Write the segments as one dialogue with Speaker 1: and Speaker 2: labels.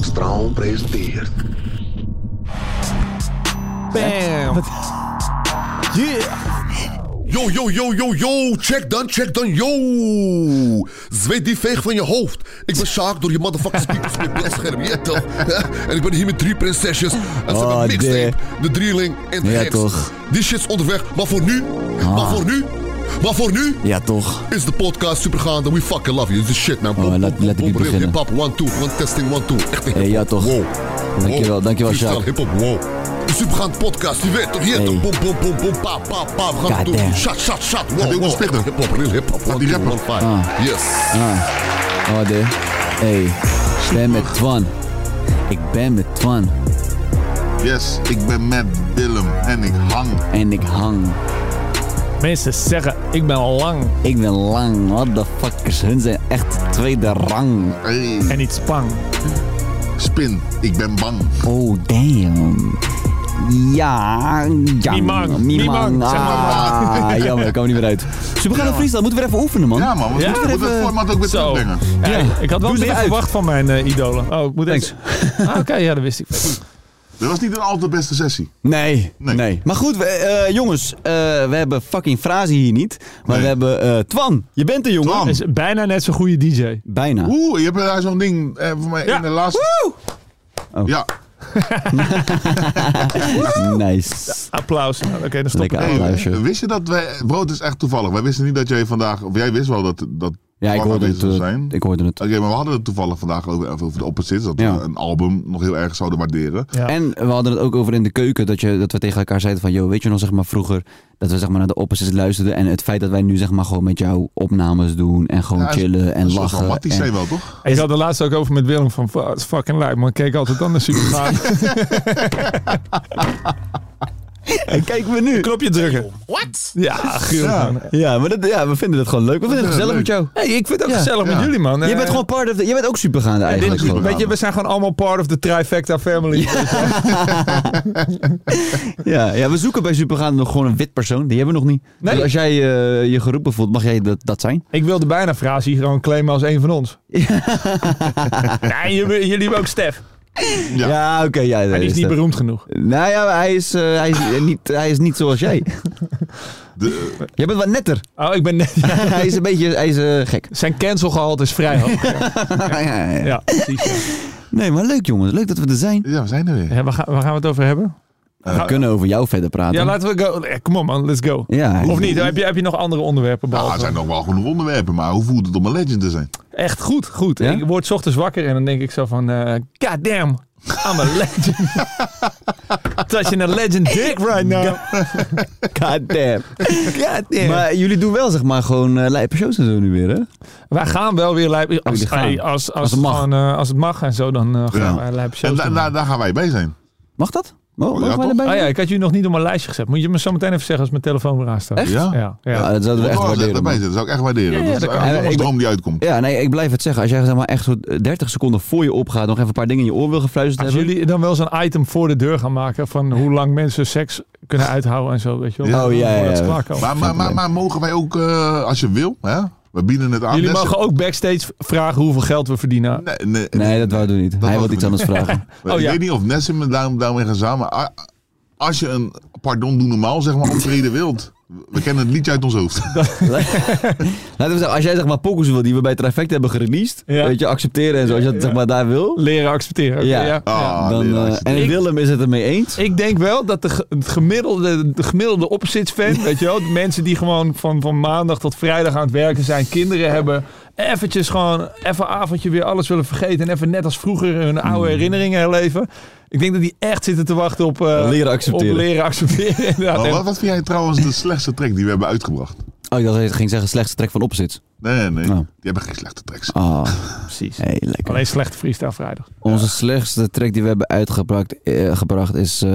Speaker 1: Straum presenteert.
Speaker 2: Bam! Yeah!
Speaker 1: Yo, yo, yo, yo, yo, check dan, check dan, yo. Zweet die veeg van je hoofd. Ik ben Sjaak door je motherfucking speakers met bladscherm, ja toch? En ik ben hier met drie prinsesjes. En ze
Speaker 2: Oh,
Speaker 1: hebben mixtape,
Speaker 2: de-
Speaker 1: de drieling en de
Speaker 2: Ja,
Speaker 1: Heks.
Speaker 2: toch. Ah.
Speaker 1: Die shit is onderweg, maar voor nu, maar voor nu, maar voor nu...
Speaker 2: Ja, toch?
Speaker 1: is de podcast supergaande. We fucking love you. This is shit, man.
Speaker 2: Oh, laat- laat ik niet
Speaker 1: real
Speaker 2: beginnen.
Speaker 1: Hip-hop, one, two. One testing, one, two. Echt een
Speaker 2: Hey,
Speaker 1: hip-hop.
Speaker 2: ja, toch.
Speaker 1: Wow.
Speaker 2: Dankjewel,
Speaker 1: Wow.
Speaker 2: dankjewel,
Speaker 1: Freestyle,
Speaker 2: Sjaak.
Speaker 1: hip-hop, wow. Een supergaande podcast. Je weet toch, hier
Speaker 2: Hey.
Speaker 1: toch. Boom, boom, boom, boom. Pa, pa, pa. We gaan het doen.
Speaker 2: Goddamn.
Speaker 1: Shot, shot, shot. Wow, wow. Echt een hip-hop, real hip-hop.
Speaker 2: Oh,
Speaker 1: One,
Speaker 3: die
Speaker 1: two,
Speaker 3: rapper.
Speaker 1: one, five. Yes.
Speaker 2: Ah. Oh, de. Hey. Ik ben met Twan. Ik ben met Twan.
Speaker 3: Yes, ik ben met Willem en ik hang.
Speaker 2: En ik hang.
Speaker 4: Mensen zeggen, ik ben lang
Speaker 2: Ik ben lang. What the fuckers? Hun zijn echt tweede rang.
Speaker 3: Hey,
Speaker 4: en niet spang.
Speaker 3: spin, ik ben bang.
Speaker 2: Oh, damn. Ja, ja.
Speaker 4: Mimang,
Speaker 2: Mimang.
Speaker 4: Mimang, zeg maar.
Speaker 2: Ah, jammer, ik kwam er niet meer uit. Supergaande
Speaker 3: Ja.
Speaker 2: freestyle, moeten we even oefenen, man.
Speaker 3: Ja man, we
Speaker 4: Ja?
Speaker 3: moeten moet het nou.
Speaker 2: Even-
Speaker 3: format ook weer
Speaker 4: Zo.
Speaker 3: terugbrengen.
Speaker 4: Ja, ik had wel
Speaker 2: doe ze
Speaker 4: meer
Speaker 2: eruit.
Speaker 4: verwacht van mijn eh, idolen. Oh, ik moet
Speaker 2: Thanks.
Speaker 4: even- Ah, Oké, ja, dat wist ik.
Speaker 3: Dat was niet een al te beste sessie.
Speaker 2: Nee, nee,
Speaker 3: Nee.
Speaker 2: Maar goed, we- eh, jongens, eh, we hebben fucking Frazi hier niet. Maar
Speaker 3: Nee.
Speaker 2: we hebben eh, Twan. Je bent er, jongen.
Speaker 3: Twan.
Speaker 4: Is bijna net zo'n goede DJ.
Speaker 2: Bijna.
Speaker 3: Oeh, je hebt daar zo'n ding eh, voor mij
Speaker 4: Ja.
Speaker 3: in de laatste...
Speaker 2: Oh.
Speaker 3: Ja,
Speaker 2: Nice.
Speaker 4: Applaus. Nou, Oké, dan stop
Speaker 2: Lekker
Speaker 4: ik.
Speaker 3: Hey, eh,
Speaker 2: applausje. Ja, ik
Speaker 3: Twan
Speaker 2: hoorde
Speaker 3: aanwezig
Speaker 2: het.
Speaker 3: zou
Speaker 2: eh,
Speaker 3: zijn.
Speaker 2: ik hoorde het.
Speaker 3: Oké, maar we hadden het toevallig vandaag over, over de opposites. Dat
Speaker 2: Ja.
Speaker 3: we een album nog heel erg zouden waarderen.
Speaker 4: Ja.
Speaker 2: En we hadden het ook over in de keuken. Dat, je, dat we tegen elkaar zeiden van... Yo, weet je nog zeg maar vroeger... Dat we zeg maar naar de opposites luisterden. En het feit dat wij nu zeg maar gewoon met jou opnames doen. En gewoon
Speaker 3: Ja, is-
Speaker 2: chillen en
Speaker 3: Een soort van
Speaker 2: lachen.
Speaker 3: matties
Speaker 2: en-
Speaker 3: zijn wel, toch?
Speaker 4: Ik had er laatst ook over met Willem van, "Fuck, het is fucking lijp, maar ik keek altijd anders super gaan.
Speaker 2: En kijk me nu.
Speaker 4: Knopje drukken. What? Ja, gruwelijk
Speaker 3: Ja.
Speaker 4: man.
Speaker 2: Ja, maar dat, ja, we vinden het gewoon leuk. We vinden het gezellig
Speaker 3: leuk.
Speaker 2: met jou.
Speaker 4: Hey, ik vind het ook
Speaker 2: Ja.
Speaker 4: gezellig
Speaker 3: Ja.
Speaker 4: met jullie man.
Speaker 2: Je
Speaker 4: Eh,
Speaker 2: bent gewoon part of the... Je bent ook supergaande
Speaker 4: dit
Speaker 2: eigenlijk.
Speaker 4: is-
Speaker 2: gewoon.
Speaker 4: Weet je, we zijn gewoon allemaal part of the trifecta family.
Speaker 2: Ja, ja, we zoeken bij Supergaande nog gewoon een wit persoon. Die hebben we nog niet.
Speaker 4: Nee.
Speaker 2: Dus als jij eh, je geroepen voelt, mag jij dat, dat zijn?
Speaker 4: Ik wilde bijna Frazi gewoon claimen als een van ons. nee, jullie, jullie hebben ook Stef.
Speaker 3: Ja.
Speaker 2: oké. ja,
Speaker 4: Hij is niet
Speaker 2: dat-
Speaker 4: beroemd genoeg.
Speaker 2: Nou ja, maar hij is, eh, hij, is eh, niet, hij is niet zoals jij.
Speaker 3: De,
Speaker 2: jij bent wat netter.
Speaker 4: Oh, ik ben net... ja.
Speaker 2: hij is een beetje hij is, eh, gek.
Speaker 4: Zijn cancelgehalte is vrij hoog.
Speaker 2: Ja, ja, ja.
Speaker 4: ja, precies.
Speaker 2: Nee, maar leuk jongens. Leuk dat we er zijn.
Speaker 3: ja, we zijn er weer.
Speaker 4: Ja, waar, gaan, waar gaan we het over hebben?
Speaker 2: we kunnen over jou verder praten.
Speaker 4: Ja, laten we go. Eh, Kom op man, let's go.
Speaker 2: Ja.
Speaker 4: Of niet? Heb je, heb je nog andere onderwerpen
Speaker 3: Nou,
Speaker 4: behalve?
Speaker 3: er zijn nog wel genoeg onderwerpen, maar hoe voelt het om een legend te zijn?
Speaker 4: Echt goed, goed.
Speaker 2: Ja?
Speaker 4: Ik word 's ochtends wakker en dan denk ik zo van... eh God damn, I'm a legend. Touching a legend dick right now.
Speaker 2: God damn. Maar jullie doen wel zeg maar gewoon eh lijpe shows en zo nu weer hè?
Speaker 4: Wij gaan wel weer lijp... Als,
Speaker 2: Jullie gaan.
Speaker 4: hey, als, als,
Speaker 2: Als het mag.
Speaker 4: gewoon, eh, als het mag en zo, dan eh, gaan
Speaker 3: Ja.
Speaker 4: wij lijp
Speaker 3: En
Speaker 4: shows
Speaker 3: da-
Speaker 4: doen.
Speaker 3: da- daar gaan wij bij zijn.
Speaker 2: Mag dat? Mo- Mogen
Speaker 3: ja,
Speaker 2: wij
Speaker 3: toch?
Speaker 2: erbij?
Speaker 4: Oh ja, ik had jullie nog niet op mijn lijstje gezet. Moet je me zo meteen even zeggen als mijn telefoon weer aanstaat.
Speaker 2: Echt?
Speaker 3: Ja?
Speaker 4: Ja, ja.
Speaker 2: Ja, dat zouden we echt
Speaker 3: Als
Speaker 2: waarderen.
Speaker 3: erbij
Speaker 2: man.
Speaker 3: zitten, zou ik echt waarderen.
Speaker 4: Ja, ja,
Speaker 3: dat is
Speaker 4: dat
Speaker 2: kan.
Speaker 3: eigenlijk
Speaker 2: Ja,
Speaker 3: een
Speaker 2: ik-
Speaker 3: droom die uitkomt.
Speaker 2: Ja, nee, ik blijf het zeggen. Als jij zeg maar echt zo 30 seconden voor je opgaat nog even een paar dingen in je oor wil gefluisterd
Speaker 4: Als
Speaker 2: hebben.
Speaker 4: jullie dan wel zo'n item voor de deur gaan maken van hoe lang mensen seks kunnen uithouden en zo, weet je wel.
Speaker 2: Ja. Oh, ja, ja,
Speaker 4: Voordat
Speaker 2: ja.
Speaker 4: ze klaarkomen.
Speaker 3: Maar, maar, maar, maar mogen wij ook, eh, als je wil, hè? we bieden het aan.
Speaker 4: Jullie
Speaker 3: Net-
Speaker 4: mogen ook backstage vragen hoeveel geld we verdienen.
Speaker 3: Nee, nee,
Speaker 2: Nee, dat wouden we niet. Hij
Speaker 3: wouden
Speaker 2: wil
Speaker 3: we
Speaker 2: iets anders vragen.
Speaker 3: Ik
Speaker 4: Oh, ja.
Speaker 3: weet niet of Nessim en daarom, daarmee gaan samen. A- Als je een, pardon, doe normaal, zeg maar, optreden wilt. We kennen het liedje uit ons hoofd.
Speaker 2: Laten we zeggen, als jij zeg maar pokus wil die we bij Trifecta hebben gereleased,
Speaker 4: Ja.
Speaker 2: weet je, accepteren en zo, als je dat zeg maar daar wil,
Speaker 4: Leren accepteren. oké,
Speaker 2: Ja.
Speaker 4: ja. Ja.
Speaker 3: Ah,
Speaker 2: dan,
Speaker 3: nee, dat
Speaker 2: eh,
Speaker 3: is het.
Speaker 2: en
Speaker 4: Ik-
Speaker 2: Willem is het ermee eens.
Speaker 4: Ik denk wel dat de, ge- het gemiddelde, de gemiddelde opposites fan, weet je wel, de mensen die gewoon van, van maandag tot vrijdag aan het werken zijn, kinderen hebben, eventjes gewoon, even avondje weer alles willen vergeten en even net als vroeger hun
Speaker 2: Mm.
Speaker 4: oude herinneringen herleven. Ik denk dat die echt zitten te wachten op, eh,
Speaker 2: Leren accepteren.
Speaker 4: op leren accepteren. inderdaad.
Speaker 3: Maar
Speaker 4: En-
Speaker 3: wat, wat vind jij trouwens de slechtste track die we hebben uitgebracht?
Speaker 2: Oh, ik dacht dat je ging zeggen slechtste trek van opposites.
Speaker 3: Nee, nee,
Speaker 2: Oh.
Speaker 3: die hebben geen slechte tracks.
Speaker 2: Ah,
Speaker 4: Precies.
Speaker 2: hey, lekker.
Speaker 4: Alleen slechte freestyle vrijdag.
Speaker 2: Onze slechtste track die we hebben uitgebracht eh, gebracht is eh,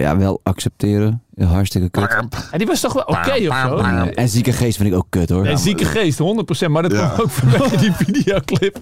Speaker 2: ja, wel accepteren. Hartstikke kut.
Speaker 4: En die was toch wel oké of zo?
Speaker 2: Ja, en zieke geest vind ik ook kut hoor.
Speaker 4: Nee, zieke geest, 100%. Maar dat
Speaker 3: Ja.
Speaker 4: kwam ook vanuit die videoclip.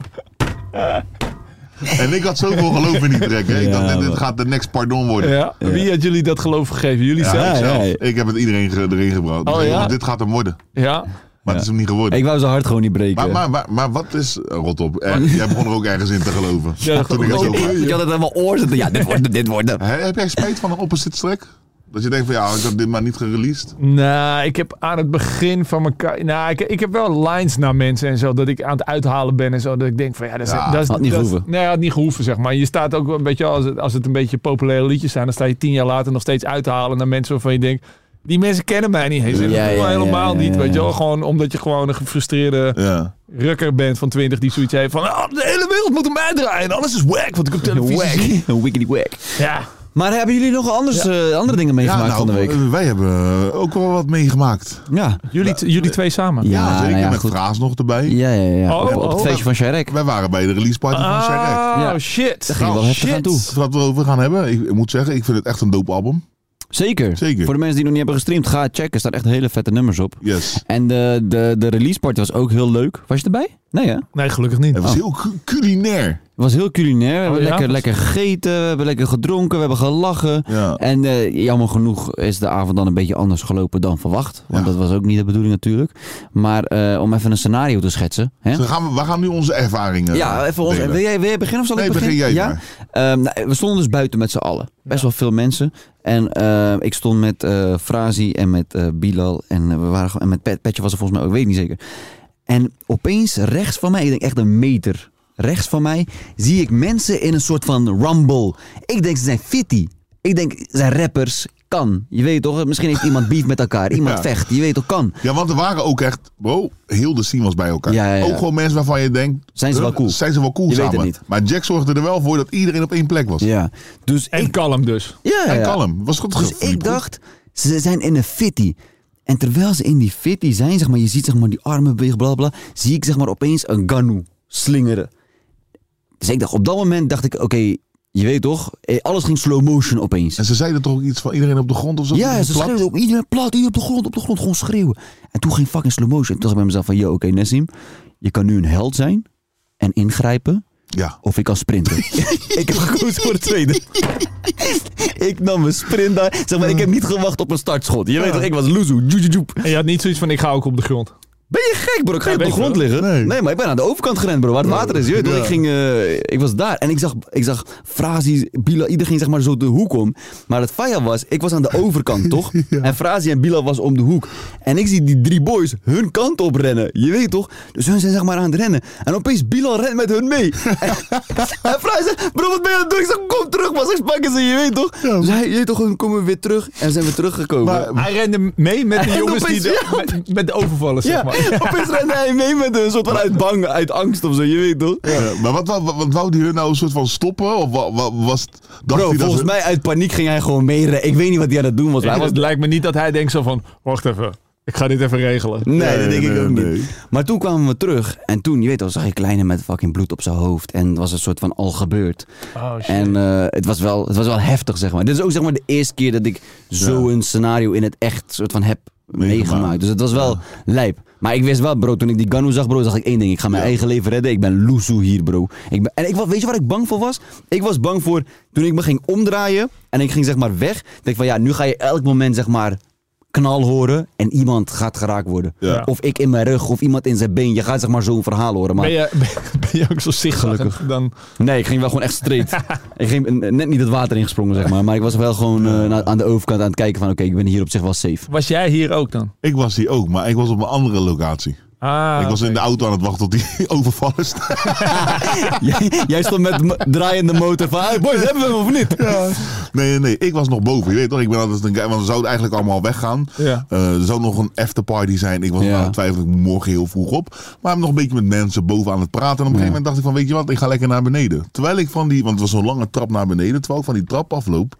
Speaker 3: En ik had zoveel geloof in die track. Hè? Ik
Speaker 2: Ja,
Speaker 3: dacht, dit, dit
Speaker 2: maar-
Speaker 3: gaat de next pardon worden.
Speaker 4: Ja. Wie had jullie dat geloof gegeven? Jullie
Speaker 3: Ja,
Speaker 4: zelf?
Speaker 2: ja,
Speaker 3: zelf.
Speaker 2: ja.
Speaker 3: Ik heb het iedereen ge- erin gebracht.
Speaker 4: Oh, ja?
Speaker 3: Dit gaat hem worden.
Speaker 4: Ja.
Speaker 3: Maar het is hem niet geworden.
Speaker 2: Ik wou ze hard gewoon niet breken.
Speaker 3: Maar, maar, maar, maar wat is... Rot op. Eh, jij begon er ook ergens in te geloven.
Speaker 4: Ja,
Speaker 3: Toen ik het
Speaker 2: Oh,
Speaker 3: zo
Speaker 2: ik- ik had het helemaal oor zitten. Ja, dit wordt hem, dit wordt hem.
Speaker 3: He- Heb jij spijt van een opposite track? Dat je denkt van ja, ik heb dit maar niet gereleased.
Speaker 4: Nou, ik heb aan het begin van mijn carrière... Nou, ik, ik heb wel lines naar mensen en zo. Dat ik aan het uithalen ben en zo. Dat ik denk van ja, dat is...
Speaker 3: Ja,
Speaker 4: dat is
Speaker 2: had niet
Speaker 4: dat is-
Speaker 2: gehoeven.
Speaker 4: Nee, had niet gehoeven, zeg maar. Je staat ook wel een beetje... Als het, als het een beetje populaire liedjes zijn... dan sta je tien jaar later nog steeds uit te halen naar mensen waarvan je denkt... Die mensen kennen mij niet eens. En
Speaker 2: Ja,
Speaker 4: dat doen we
Speaker 2: ja, ja,
Speaker 4: helemaal
Speaker 2: ja,
Speaker 4: niet,
Speaker 2: ja,
Speaker 4: weet je
Speaker 2: ja.
Speaker 4: wel. Gewoon omdat je gewoon een gefrustreerde
Speaker 3: Ja.
Speaker 4: rukker bent van 20 die zoiets heeft van... "Ah, de hele wereld moet hem uitdraaien. Alles is wack wat ik op televisie zie."
Speaker 2: Een wiggity wack.
Speaker 4: Ja.
Speaker 2: Maar hebben jullie nog anders, eh, andere dingen meegemaakt
Speaker 4: nou,
Speaker 2: van de week?
Speaker 3: eh, wij hebben eh, ook wel wat meegemaakt.
Speaker 2: ja.
Speaker 4: Jullie, jullie twee samen?
Speaker 3: Ja,
Speaker 2: nou
Speaker 3: zeker.
Speaker 2: ja,
Speaker 3: met
Speaker 2: goed.
Speaker 3: Fraas nog erbij.
Speaker 2: Ja, ja, ja.
Speaker 4: Oh,
Speaker 2: op, op het
Speaker 4: oh.
Speaker 2: feestje van Sharek.
Speaker 3: Wij waren bij de release party van Shrek.
Speaker 4: Oh,
Speaker 2: Ja.
Speaker 4: shit.
Speaker 2: Daar ging je wel
Speaker 4: Oh,
Speaker 2: heftig aan
Speaker 4: shit.
Speaker 2: toe.
Speaker 3: Wat we over gaan hebben, ik, ik moet zeggen, ik vind het echt een dope album.
Speaker 2: Zeker.
Speaker 3: Zeker.
Speaker 2: Voor de mensen die nog niet hebben gestreamd, ga het checken. Er staan echt hele vette nummers op.
Speaker 3: Yes.
Speaker 2: En de, de, de release party was ook heel leuk. Was je erbij? Nee, hè?
Speaker 4: Nee, gelukkig niet.
Speaker 2: Oh.
Speaker 3: Het was heel cu- culinair.
Speaker 2: Het was heel culinair. We hebben
Speaker 4: Oh, ja?
Speaker 2: lekker, lekker gegeten, we hebben lekker gedronken, we hebben gelachen.
Speaker 3: Ja.
Speaker 2: En eh, jammer genoeg is de avond dan een beetje anders gelopen dan verwacht. Want
Speaker 3: Ja.
Speaker 2: dat was ook niet de bedoeling natuurlijk. Maar eh, om even een scenario te schetsen. Hè?
Speaker 3: Dus we, gaan, we gaan nu onze ervaringen eh,
Speaker 2: Ja, even ons,
Speaker 3: delen.
Speaker 2: wil, jij, wil jij beginnen of zal
Speaker 3: Nee,
Speaker 2: ik
Speaker 3: begin
Speaker 2: beginnen?
Speaker 3: jij
Speaker 2: ja? Ehm, nou, we stonden dus buiten met z'n allen. Best wel veel mensen. En ehm, ik stond met eh Frazi en met eh, Bilal. En, eh, we waren, gewoon- en met Pet, Petje was er volgens mij ook, ik weet het niet zeker. En opeens rechts van mij, ik denk echt een meter rechts van mij, zie ik mensen in een soort van rumble. Ik denk ze zijn fitty. Ik denk ze zijn rappers. Kan. Je weet toch, misschien heeft iemand beef met elkaar. Iemand
Speaker 3: Ja.
Speaker 2: vecht. Je weet toch, kan.
Speaker 3: Ja, want er waren ook echt, bro, heel de scene was bij elkaar.
Speaker 2: Ja, ja, ja.
Speaker 3: Ook gewoon mensen waarvan je denkt,
Speaker 2: Zijn ze
Speaker 3: huh,
Speaker 2: wel cool?
Speaker 3: Zijn ze wel cool
Speaker 2: Je weet
Speaker 3: samen?
Speaker 2: het niet.
Speaker 3: Maar Jack zorgde er wel voor dat iedereen op één plek was.
Speaker 2: Ja. Dus
Speaker 4: En
Speaker 2: ik...
Speaker 4: kalm dus.
Speaker 2: Ja, ja,
Speaker 3: En
Speaker 2: ja.
Speaker 3: kalm. Was goed
Speaker 2: Dus ik dacht, ze zijn in een fitty. En terwijl ze in die fitty zijn, zeg maar, je ziet zeg maar, die armen bewegen, bla bla, zie ik zeg maar, opeens een Ganu slingeren. Dus ik dacht, op dat moment dacht ik, oké, je weet toch, eh, alles ging slow motion opeens.
Speaker 3: En ze zeiden toch ook iets van iedereen op de grond of zo?
Speaker 2: Ja,
Speaker 3: Plat?
Speaker 2: ze schreeuwden op iedereen plat, hier op de grond, op de grond, gewoon schreeuwen. En toen ging fucking slow motion. En toen dacht ik bij mezelf van, yo, oké Nessim, je kan nu een held zijn en ingrijpen,
Speaker 3: Ja.
Speaker 2: of ik kan sprinten. ik heb gekozen voor het tweede. ik nam mijn sprint daar. Zeg maar, ik heb niet gewacht op een startschot. Je weet toch, ik was loezoe. Joejoejoep.
Speaker 4: En je had niet zoiets van, ik ga ook op de grond.
Speaker 2: Ben je gek, bro? Ik ga
Speaker 4: Nee,
Speaker 2: op de
Speaker 4: weet
Speaker 2: grond
Speaker 4: ik wel.
Speaker 2: liggen. Nee.
Speaker 3: Nee.
Speaker 2: maar ik ben aan de overkant gerend, bro. Waar het water is. Je weet toch,
Speaker 3: Ja.
Speaker 2: ik, ging, eh, ik was daar en ik zag, ik zag Frazi, Bilal, iedereen ging zeg maar zo de hoek om. Maar het faya was, ik was aan de overkant, toch? En Frazi en Bilal was om de hoek. En ik zie die drie boys hun kant op rennen. Je weet toch? Dus hun zijn zeg maar aan het rennen. En opeens Bilal rent met hun mee. en en Frazi zegt, bro, wat ben je aan het doen? Ik zeg, kom terug, maar straks pakken ze je, je weet toch? Dus hij, je weet toch, hun komen weer terug en zijn weer teruggekomen.
Speaker 3: Maar-
Speaker 4: Hij rende mee met de
Speaker 2: En
Speaker 4: jongens die
Speaker 2: opeens-
Speaker 4: de, met, met de overvallers, zeg
Speaker 2: Ja,
Speaker 4: maar.
Speaker 2: opeens rende hij mee met een soort van uit bang, uit angst of zo, je weet toch?
Speaker 3: Ja, Eh, maar wat, wat, wat, wou die hun nou een soort van stoppen? Of wat, was het, dacht hij
Speaker 2: Bro,
Speaker 3: dat
Speaker 2: volgens
Speaker 3: ze-
Speaker 2: mij uit paniek ging hij gewoon meeren. Ik weet niet wat hij aan het doen was. maar Hij was
Speaker 4: Het lijkt me niet dat hij denkt zo van, wacht even, ik ga dit even regelen.
Speaker 2: nee,
Speaker 3: Nee,
Speaker 2: dat denk ik
Speaker 3: nee,
Speaker 2: ook
Speaker 3: nee.
Speaker 2: niet. Maar toen kwamen we terug en toen, je weet al, zag ik Kleine met fucking bloed op zijn hoofd. En het was een soort van al gebeurd.
Speaker 4: Oh, shit.
Speaker 2: En eh, het, was wel, het was wel heftig, zeg maar. Dit is ook zeg maar de eerste keer dat ik zo'n scenario in het echt soort van heb meegemaakt. Dus het was wel lijp. Maar ik wist wel, bro, toen ik die Ganu zag, bro, zag ik één ding. Ik ga mijn eigen leven redden. Ik ben loesoe hier, bro. Ik ben, en ik, wa- weet je waar ik bang voor was? Ik was bang voor toen ik me ging omdraaien en ik ging zeg maar weg. Denk ik van ja, nu ga je elk moment zeg maar knal horen en iemand gaat geraakt worden.
Speaker 3: Ja.
Speaker 2: Of ik in mijn rug of iemand in zijn been. Je gaat zeg maar zo'n verhaal horen. Maar
Speaker 4: Ben je, ben, ben je ook zo zichtgelukkig? Dan,
Speaker 2: Nee, ik ging wel gewoon echt straight. ik ging eh, net niet het water ingesprongen, zeg maar. Maar ik was wel gewoon eh, na- aan de overkant aan het kijken van... oké, ik ben hier op zich wel safe.
Speaker 4: was jij hier ook dan?
Speaker 3: Ik was hier ook, maar ik was op een andere locatie.
Speaker 4: Ah,
Speaker 3: ik was in de auto aan het wachten tot die overvallers.
Speaker 2: jij, jij stond met mo- draaiende motor van... Hey boys, hebben we hem of niet?
Speaker 3: Nee, nee, nee. Ik was nog boven. Je weet toch, ik ben altijd een guy. Want ze zouden eigenlijk allemaal weggaan.
Speaker 4: Ja.
Speaker 3: Eh, er zou nog een afterparty zijn. Ik was
Speaker 2: Ja.
Speaker 3: nog aan het twijfelen. Ik moet morgen heel vroeg op. Maar ik ben nog een beetje met mensen boven aan het praten. En op een gegeven moment dacht ik van, weet je wat? Ik ga lekker naar beneden. Terwijl ik van die, want het was zo'n lange trap naar beneden. Terwijl ik van die trap afloop.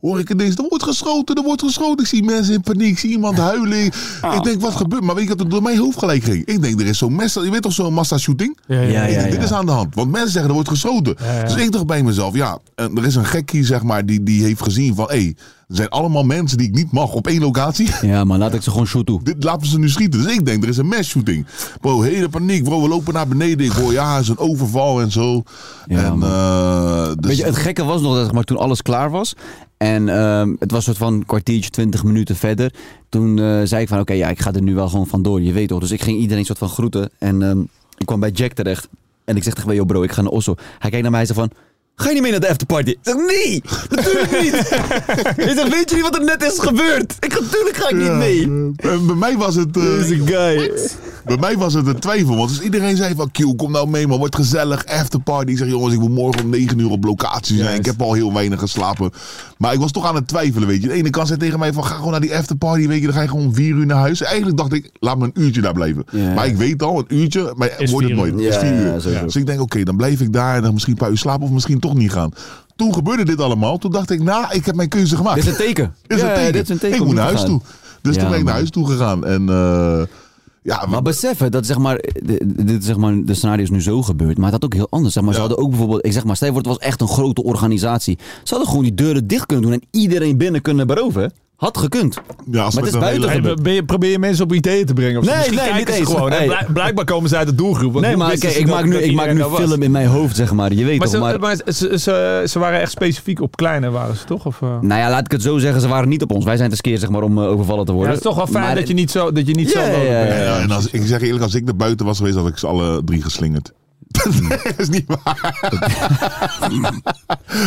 Speaker 3: Hoor ik ineens, er wordt geschoten, er wordt geschoten. Ik zie mensen in paniek, ik zie iemand huilen. Ik denk, wat gebeurt? Maar weet je wat er door mijn hoofd gelijk ging? Ik denk, er is zo'n massa, je weet toch zo'n massa shooting?
Speaker 4: Ja, ja,
Speaker 2: Ja,
Speaker 3: Ik
Speaker 2: ja,
Speaker 3: denk, dit
Speaker 2: ja.
Speaker 3: is aan de hand. Want mensen zeggen, er wordt geschoten.
Speaker 4: ja.
Speaker 3: Dus ik dacht bij mezelf, ja, en er is een gekkie, zeg maar, die, die heeft gezien van... hé, er zijn allemaal mensen die ik niet mag op één locatie.
Speaker 2: Ja, man, laat ik ze gewoon shoot toe.
Speaker 3: Dit laten ze nu schieten. Dus ik denk, er is een mass shooting. Bro, hele paniek. Bro, we lopen naar beneden. Ik hoor, ja, het is een overval en zo.
Speaker 2: Ja,
Speaker 3: en
Speaker 2: man.
Speaker 3: eh, de,
Speaker 2: Weet je, het gekke was nog dat zeg maar, toen alles klaar was. En ehm, het was soort van een kwartiertje, twintig minuten verder. Toen eh, zei ik van, oké, ja, ik ga er nu wel gewoon vandoor. Je weet toch. Dus ik ging iedereen soort van groeten. En ehm, ik kwam bij Jack terecht. En ik zeg tegen hem, yo bro, ik ga naar Oslo. Hij kijkt naar mij en zegt van... Ga je niet mee naar de afterparty? Ik zeg, nee, natuurlijk niet. ik zeg, weet je niet wat er net is gebeurd? Ik, natuurlijk ga ik niet mee.
Speaker 3: Eh, bij mij was het... eh,
Speaker 2: Deze guy.
Speaker 3: Bij mij was het een twijfel, want dus iedereen zei van... Q, kom nou mee man, wordt gezellig, afterparty. Ik zeg, jongens, ik moet morgen om 9 uur op locatie zijn.
Speaker 4: Juist.
Speaker 3: Ik heb al heel weinig geslapen. Maar ik was toch aan het twijfelen, weet je. De ene kant zei tegen mij van, ga gewoon naar die afterparty, weet je. Dan ga je gewoon vier uur naar huis. Eigenlijk dacht ik, laat me een uurtje daar blijven.
Speaker 2: Ja.
Speaker 3: Maar ik weet al, een uurtje, maar
Speaker 4: Is
Speaker 3: wordt het
Speaker 4: vier
Speaker 3: nooit.
Speaker 4: uur.
Speaker 3: is
Speaker 2: Ja,
Speaker 3: vier
Speaker 2: ja,
Speaker 3: uur.
Speaker 2: sowieso.
Speaker 3: Dus ik denk, oké, dan blijf ik daar en dan misschien een paar uur slapen of misschien toch niet gaan. Toen gebeurde dit allemaal. Toen dacht ik, nou, ik heb mijn keuze gemaakt.
Speaker 2: Dit is een teken.
Speaker 3: Dit is
Speaker 2: Ja,
Speaker 3: een teken.
Speaker 2: Dit is een teken
Speaker 3: Ik
Speaker 2: om
Speaker 3: moet naar
Speaker 2: te
Speaker 3: huis
Speaker 2: gaan.
Speaker 3: toe. Dus
Speaker 2: Ja,
Speaker 3: toen ben ik
Speaker 2: man.
Speaker 3: naar huis toe gegaan. En eh, ja,
Speaker 2: Maar beseffen dat zeg maar, dit, dit is zeg maar, de scenario is nu zo gebeurd, maar het had ook heel anders. Zeg maar, Ze
Speaker 3: Ja.
Speaker 2: hadden ook bijvoorbeeld, ik zeg maar, stel je voor, het was echt een grote organisatie. Ze hadden gewoon die deuren dicht kunnen doen en iedereen binnen kunnen beroven. hè? Had gekund.
Speaker 3: ja, als
Speaker 2: maar
Speaker 3: met
Speaker 2: het is
Speaker 3: een hele-
Speaker 2: buiten-
Speaker 4: Hey,
Speaker 2: gebeurt.
Speaker 4: ben je- probeer je mensen op ideeën te brengen? Of zo?
Speaker 2: Nee,
Speaker 4: Misschien
Speaker 2: nee,
Speaker 4: kijken
Speaker 2: niet
Speaker 4: ze
Speaker 2: eens.
Speaker 4: Gewoon, hè?
Speaker 2: Nee.
Speaker 4: Blijk- Blijkbaar komen ze uit de doelgroep. want
Speaker 2: Nee,
Speaker 4: hoe
Speaker 2: maar
Speaker 4: wisten
Speaker 2: kijk,
Speaker 4: ze
Speaker 2: ik
Speaker 4: dat-
Speaker 2: maak nu,
Speaker 4: dat
Speaker 2: ik maak
Speaker 4: iedereen
Speaker 2: nu
Speaker 4: daar was?
Speaker 2: film in mijn hoofd, zeg maar. Je weet
Speaker 4: Maar,
Speaker 2: toch,
Speaker 4: ze, eh,
Speaker 2: maar...
Speaker 4: maar ze, ze, ze- ze waren echt specifiek op kleine waren ze toch? Of, eh?
Speaker 2: Nou ja, laat ik het zo zeggen, ze waren niet op ons. Wij zijn te skeer, zeg maar, om eh, overvallen te
Speaker 4: Ja,
Speaker 2: worden.
Speaker 4: het is toch wel fijn
Speaker 2: Maar-
Speaker 4: dat je niet zo... Dat je niet
Speaker 2: Ja,
Speaker 4: zo
Speaker 2: ja, ja, ja.
Speaker 3: Ja, en als, ik zeg je eerlijk, als ik naar buiten was geweest, had ik ze alle drie geslingerd. dat is niet waar.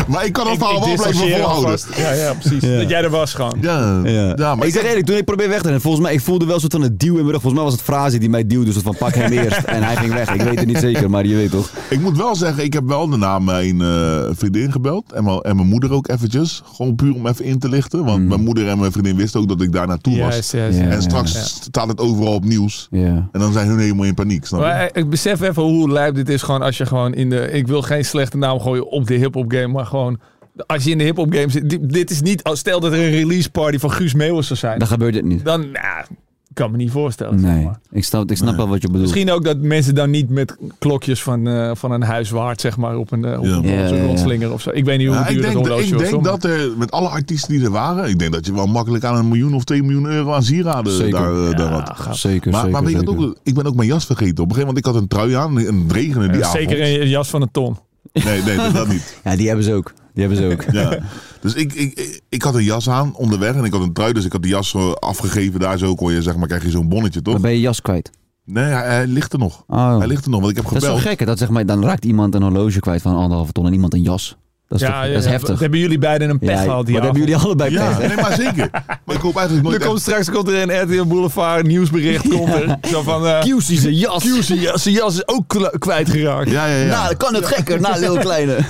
Speaker 3: maar ik kan het verhaal
Speaker 4: Ik, ik
Speaker 3: wel blijven
Speaker 4: distancieer
Speaker 3: volhouden.
Speaker 4: alvast. Ja, ja, precies.
Speaker 2: Ja.
Speaker 4: Dat jij er was gewoon.
Speaker 3: Ja, ja. maar
Speaker 2: ik zeg eerlijk, toen ik probeerde weg te rennen, volgens mij, ik voelde wel een soort van een duw in mijn rug. Volgens mij was het Frazi die mij duwde, dus van pak hem eerst. En hij ging weg. Ik weet het niet zeker, maar je weet toch.
Speaker 3: Ik moet wel zeggen, ik heb wel daarna mijn eh, vriendin gebeld. En, wel- en mijn moeder ook eventjes. Gewoon puur om even in te lichten. Want mijn moeder en mijn vriendin wisten ook dat ik daar naartoe was.
Speaker 4: Juist, juist,
Speaker 2: Ja.
Speaker 4: juist.
Speaker 3: En straks
Speaker 4: Ja.
Speaker 3: staat het overal op nieuws.
Speaker 2: Ja.
Speaker 3: En dan zijn hun helemaal in paniek, snap je?
Speaker 4: Maar eh, ik- ik besef even hoe lijp dit is gewoon als je gewoon in de... Ik wil geen slechte naam gooien op de hip-hop game, maar gewoon... Als je in de hip-hop game zit, di- dit is niet... als- Stel dat er een release party van Guus Meeuwis zou zijn.
Speaker 2: Dan gebeurt dit niet.
Speaker 4: Dan, nou, kan me niet voorstellen. zeg
Speaker 2: Nee,
Speaker 4: maar.
Speaker 2: ik snap, ik snap wel wat je bedoelt.
Speaker 4: Misschien ook dat mensen dan niet met klokjes van, eh, van een huiswaard, zeg maar, op een, eh, op
Speaker 3: Ja.
Speaker 4: een
Speaker 2: Ja,
Speaker 4: op zo'n
Speaker 2: ja, ja.
Speaker 4: rondslinger of zo. Ik weet niet hoe
Speaker 3: Ja, ik
Speaker 4: duur dat
Speaker 3: denk, dat-
Speaker 4: horloge
Speaker 3: ik
Speaker 4: was. hoor,
Speaker 3: denk dat er met alle artiesten die er waren, ik denk dat je wel makkelijk aan een miljoen of twee miljoen euro aan sieraden
Speaker 2: Zeker.
Speaker 3: daar, eh,
Speaker 4: maar-
Speaker 3: daar
Speaker 4: Ja,
Speaker 3: had.
Speaker 4: gaaf.
Speaker 2: Zeker,
Speaker 3: Maar,
Speaker 2: zeker.
Speaker 3: maar weet je
Speaker 2: zeker.
Speaker 3: wat ook, ik ben ook mijn jas vergeten op een gegeven moment. Ik had een trui aan en het regende die avond.
Speaker 4: Zeker een jas van een ton.
Speaker 3: Nee, nee, dat, dat niet.
Speaker 2: Ja, die hebben ze ook. Die hebben ze ook.
Speaker 3: Ja. Dus ik, ik, ik, ik had een jas aan onderweg en ik had een trui, dus ik had die jas eh, afgegeven. Daar zo kon je, zeg maar, krijg je zo'n bonnetje, toch?
Speaker 2: Dan ben je jas kwijt.
Speaker 3: Nee, hij, hij ligt er nog.
Speaker 2: Oh.
Speaker 3: Hij ligt er nog, want ik heb
Speaker 2: Dat is
Speaker 3: gebeld.
Speaker 2: toch gek, hè? dat zeg maar, dan raakt iemand een horloge kwijt van anderhalve ton en iemand een jas. Dat is, toch- dat is heftig.
Speaker 4: Hebben jullie beiden een pech
Speaker 2: Ja,
Speaker 4: gehad?
Speaker 2: wat
Speaker 4: Die
Speaker 2: hebben
Speaker 4: avond?
Speaker 2: jullie allebei pech,
Speaker 3: ja,
Speaker 2: hè?
Speaker 3: nee, maar zeker. Maar ik hoop eigenlijk nooit
Speaker 4: Er komt straks komt er een RTL Boulevard nieuwsbericht. Komt er. Zo van, eh
Speaker 2: QC zijn jas.
Speaker 4: Q, zijn jas- zijn jas is ook kla- kwijtgeraakt.
Speaker 3: echt- Ja, ja, ja.
Speaker 2: Nou, kan het gekker, na Lil Kleine.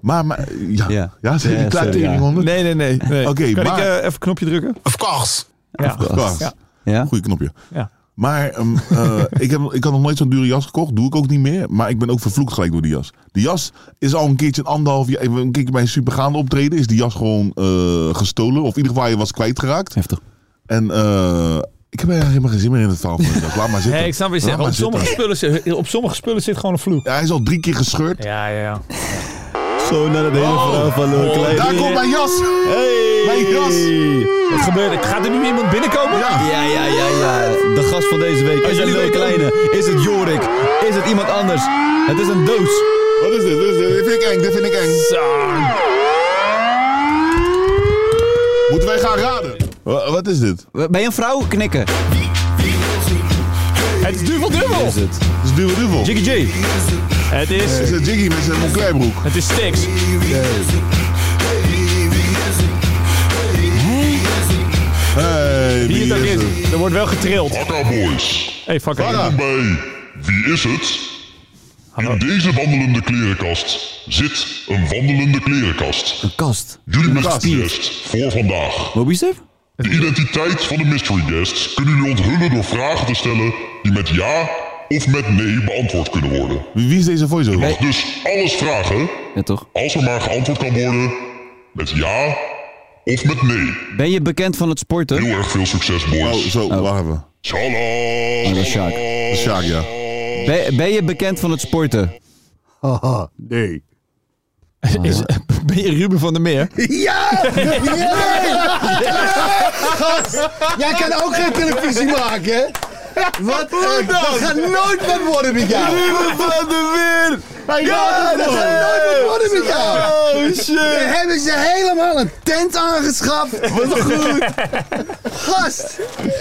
Speaker 3: maar, maar, ja. Ja,
Speaker 2: Ja.
Speaker 3: zijn die kleine
Speaker 2: Ja, sorry, ja.
Speaker 3: teringhonden?
Speaker 4: Nee, nee, nee. nee.
Speaker 3: Oké,
Speaker 4: kan
Speaker 3: maar-
Speaker 4: ik eh, even een knopje drukken?
Speaker 3: Of course.
Speaker 4: Ja.
Speaker 3: course.
Speaker 4: Ja.
Speaker 2: Ja?
Speaker 3: Goeie knopje.
Speaker 4: Ja.
Speaker 3: Maar ehm, eh, ik, heb, ik had nog nooit zo'n dure jas gekocht. Doe ik ook niet meer. Maar ik ben ook vervloekt gelijk door die jas. Die jas is al een keertje een anderhalf jaar. Een keertje bij een supergaande optreden is die jas gewoon eh, gestolen. Of in ieder geval hij was kwijtgeraakt.
Speaker 2: Heftig.
Speaker 3: En eh, ik heb eigenlijk helemaal geen zin meer in het verhaal van de jas. Laat maar zitten.
Speaker 4: Hey, ik snap wat je
Speaker 3: Laat
Speaker 4: zegt.
Speaker 3: maar
Speaker 4: Op sommige,
Speaker 3: zitten.
Speaker 4: spullen, zit- eh, op sommige spullen zit gewoon een vloek.
Speaker 3: Ja, hij is al drie keer gescheurd.
Speaker 4: Ja, ja, ja.
Speaker 2: Zo naar het hele
Speaker 4: Oh.
Speaker 2: verhaal van Lil Kleine.
Speaker 3: Daar komt mijn jas.
Speaker 2: Hey!
Speaker 3: Mijn jas.
Speaker 4: Wat gebeurt er? Gaat er nu iemand binnenkomen?
Speaker 3: Ja.
Speaker 2: Ja, ja, ja, ja. De gast van deze week. Is het
Speaker 4: jullie
Speaker 2: Lil
Speaker 4: weten-
Speaker 2: Kleine? Is het Jorik? Is het iemand anders? Het is een doos.
Speaker 3: Wat is dit? Dit is- Dit vind ik eng. Dit vind ik eng. Moeten wij gaan raden? Wa- Wat is dit?
Speaker 2: Ben je een vrouw? Knikken.
Speaker 4: Het is duvel dubbel.
Speaker 2: Is het?
Speaker 3: Dit is Duvel Duvel. Dit
Speaker 2: Jiggy J.
Speaker 4: Het is,
Speaker 3: is een Jiggy met zijn Moncler broek.
Speaker 4: het is Stix.
Speaker 3: Hey,
Speaker 4: Wie het ook
Speaker 3: het?
Speaker 4: is, er wordt wel getrild.
Speaker 5: Akka Boys.
Speaker 4: Hey, fuck it.
Speaker 5: Welkom bij Wie is het? In deze wandelende klerenkast zit een wandelende klerenkast.
Speaker 2: Een kast.
Speaker 5: Jullie
Speaker 3: kast.
Speaker 5: mystery guest voor vandaag.
Speaker 2: Moby Stef?
Speaker 5: De identiteit van de mystery guest kunnen jullie onthullen door vragen te stellen die met ja of met nee beantwoord kunnen worden.
Speaker 3: Wie wie is deze voice-over?
Speaker 5: Je mag dus alles vragen
Speaker 2: Ja, toch?
Speaker 5: als er maar geantwoord kan worden met ja of met nee.
Speaker 2: Ben je bekend van het sporten?
Speaker 5: Heel erg veel succes,
Speaker 3: Oh,
Speaker 5: boys.
Speaker 3: zo, wacht even.
Speaker 5: Shalom!
Speaker 2: Oh, dat is Sjaak.
Speaker 3: Sjaak, ja.
Speaker 2: Ben, ben je bekend van het sporten?
Speaker 3: Nee.
Speaker 4: Is- ben je Ruben van der Meer?
Speaker 6: Jij kan ook geen televisie maken, hè? Wat een- Dat gaat nooit wat worden met jou.
Speaker 4: Ruben van der Meer!
Speaker 6: Ja, dat gaat nooit wat worden Oh, met jou. We hebben ze helemaal een tent aangeschaft. Wat goed. Gast.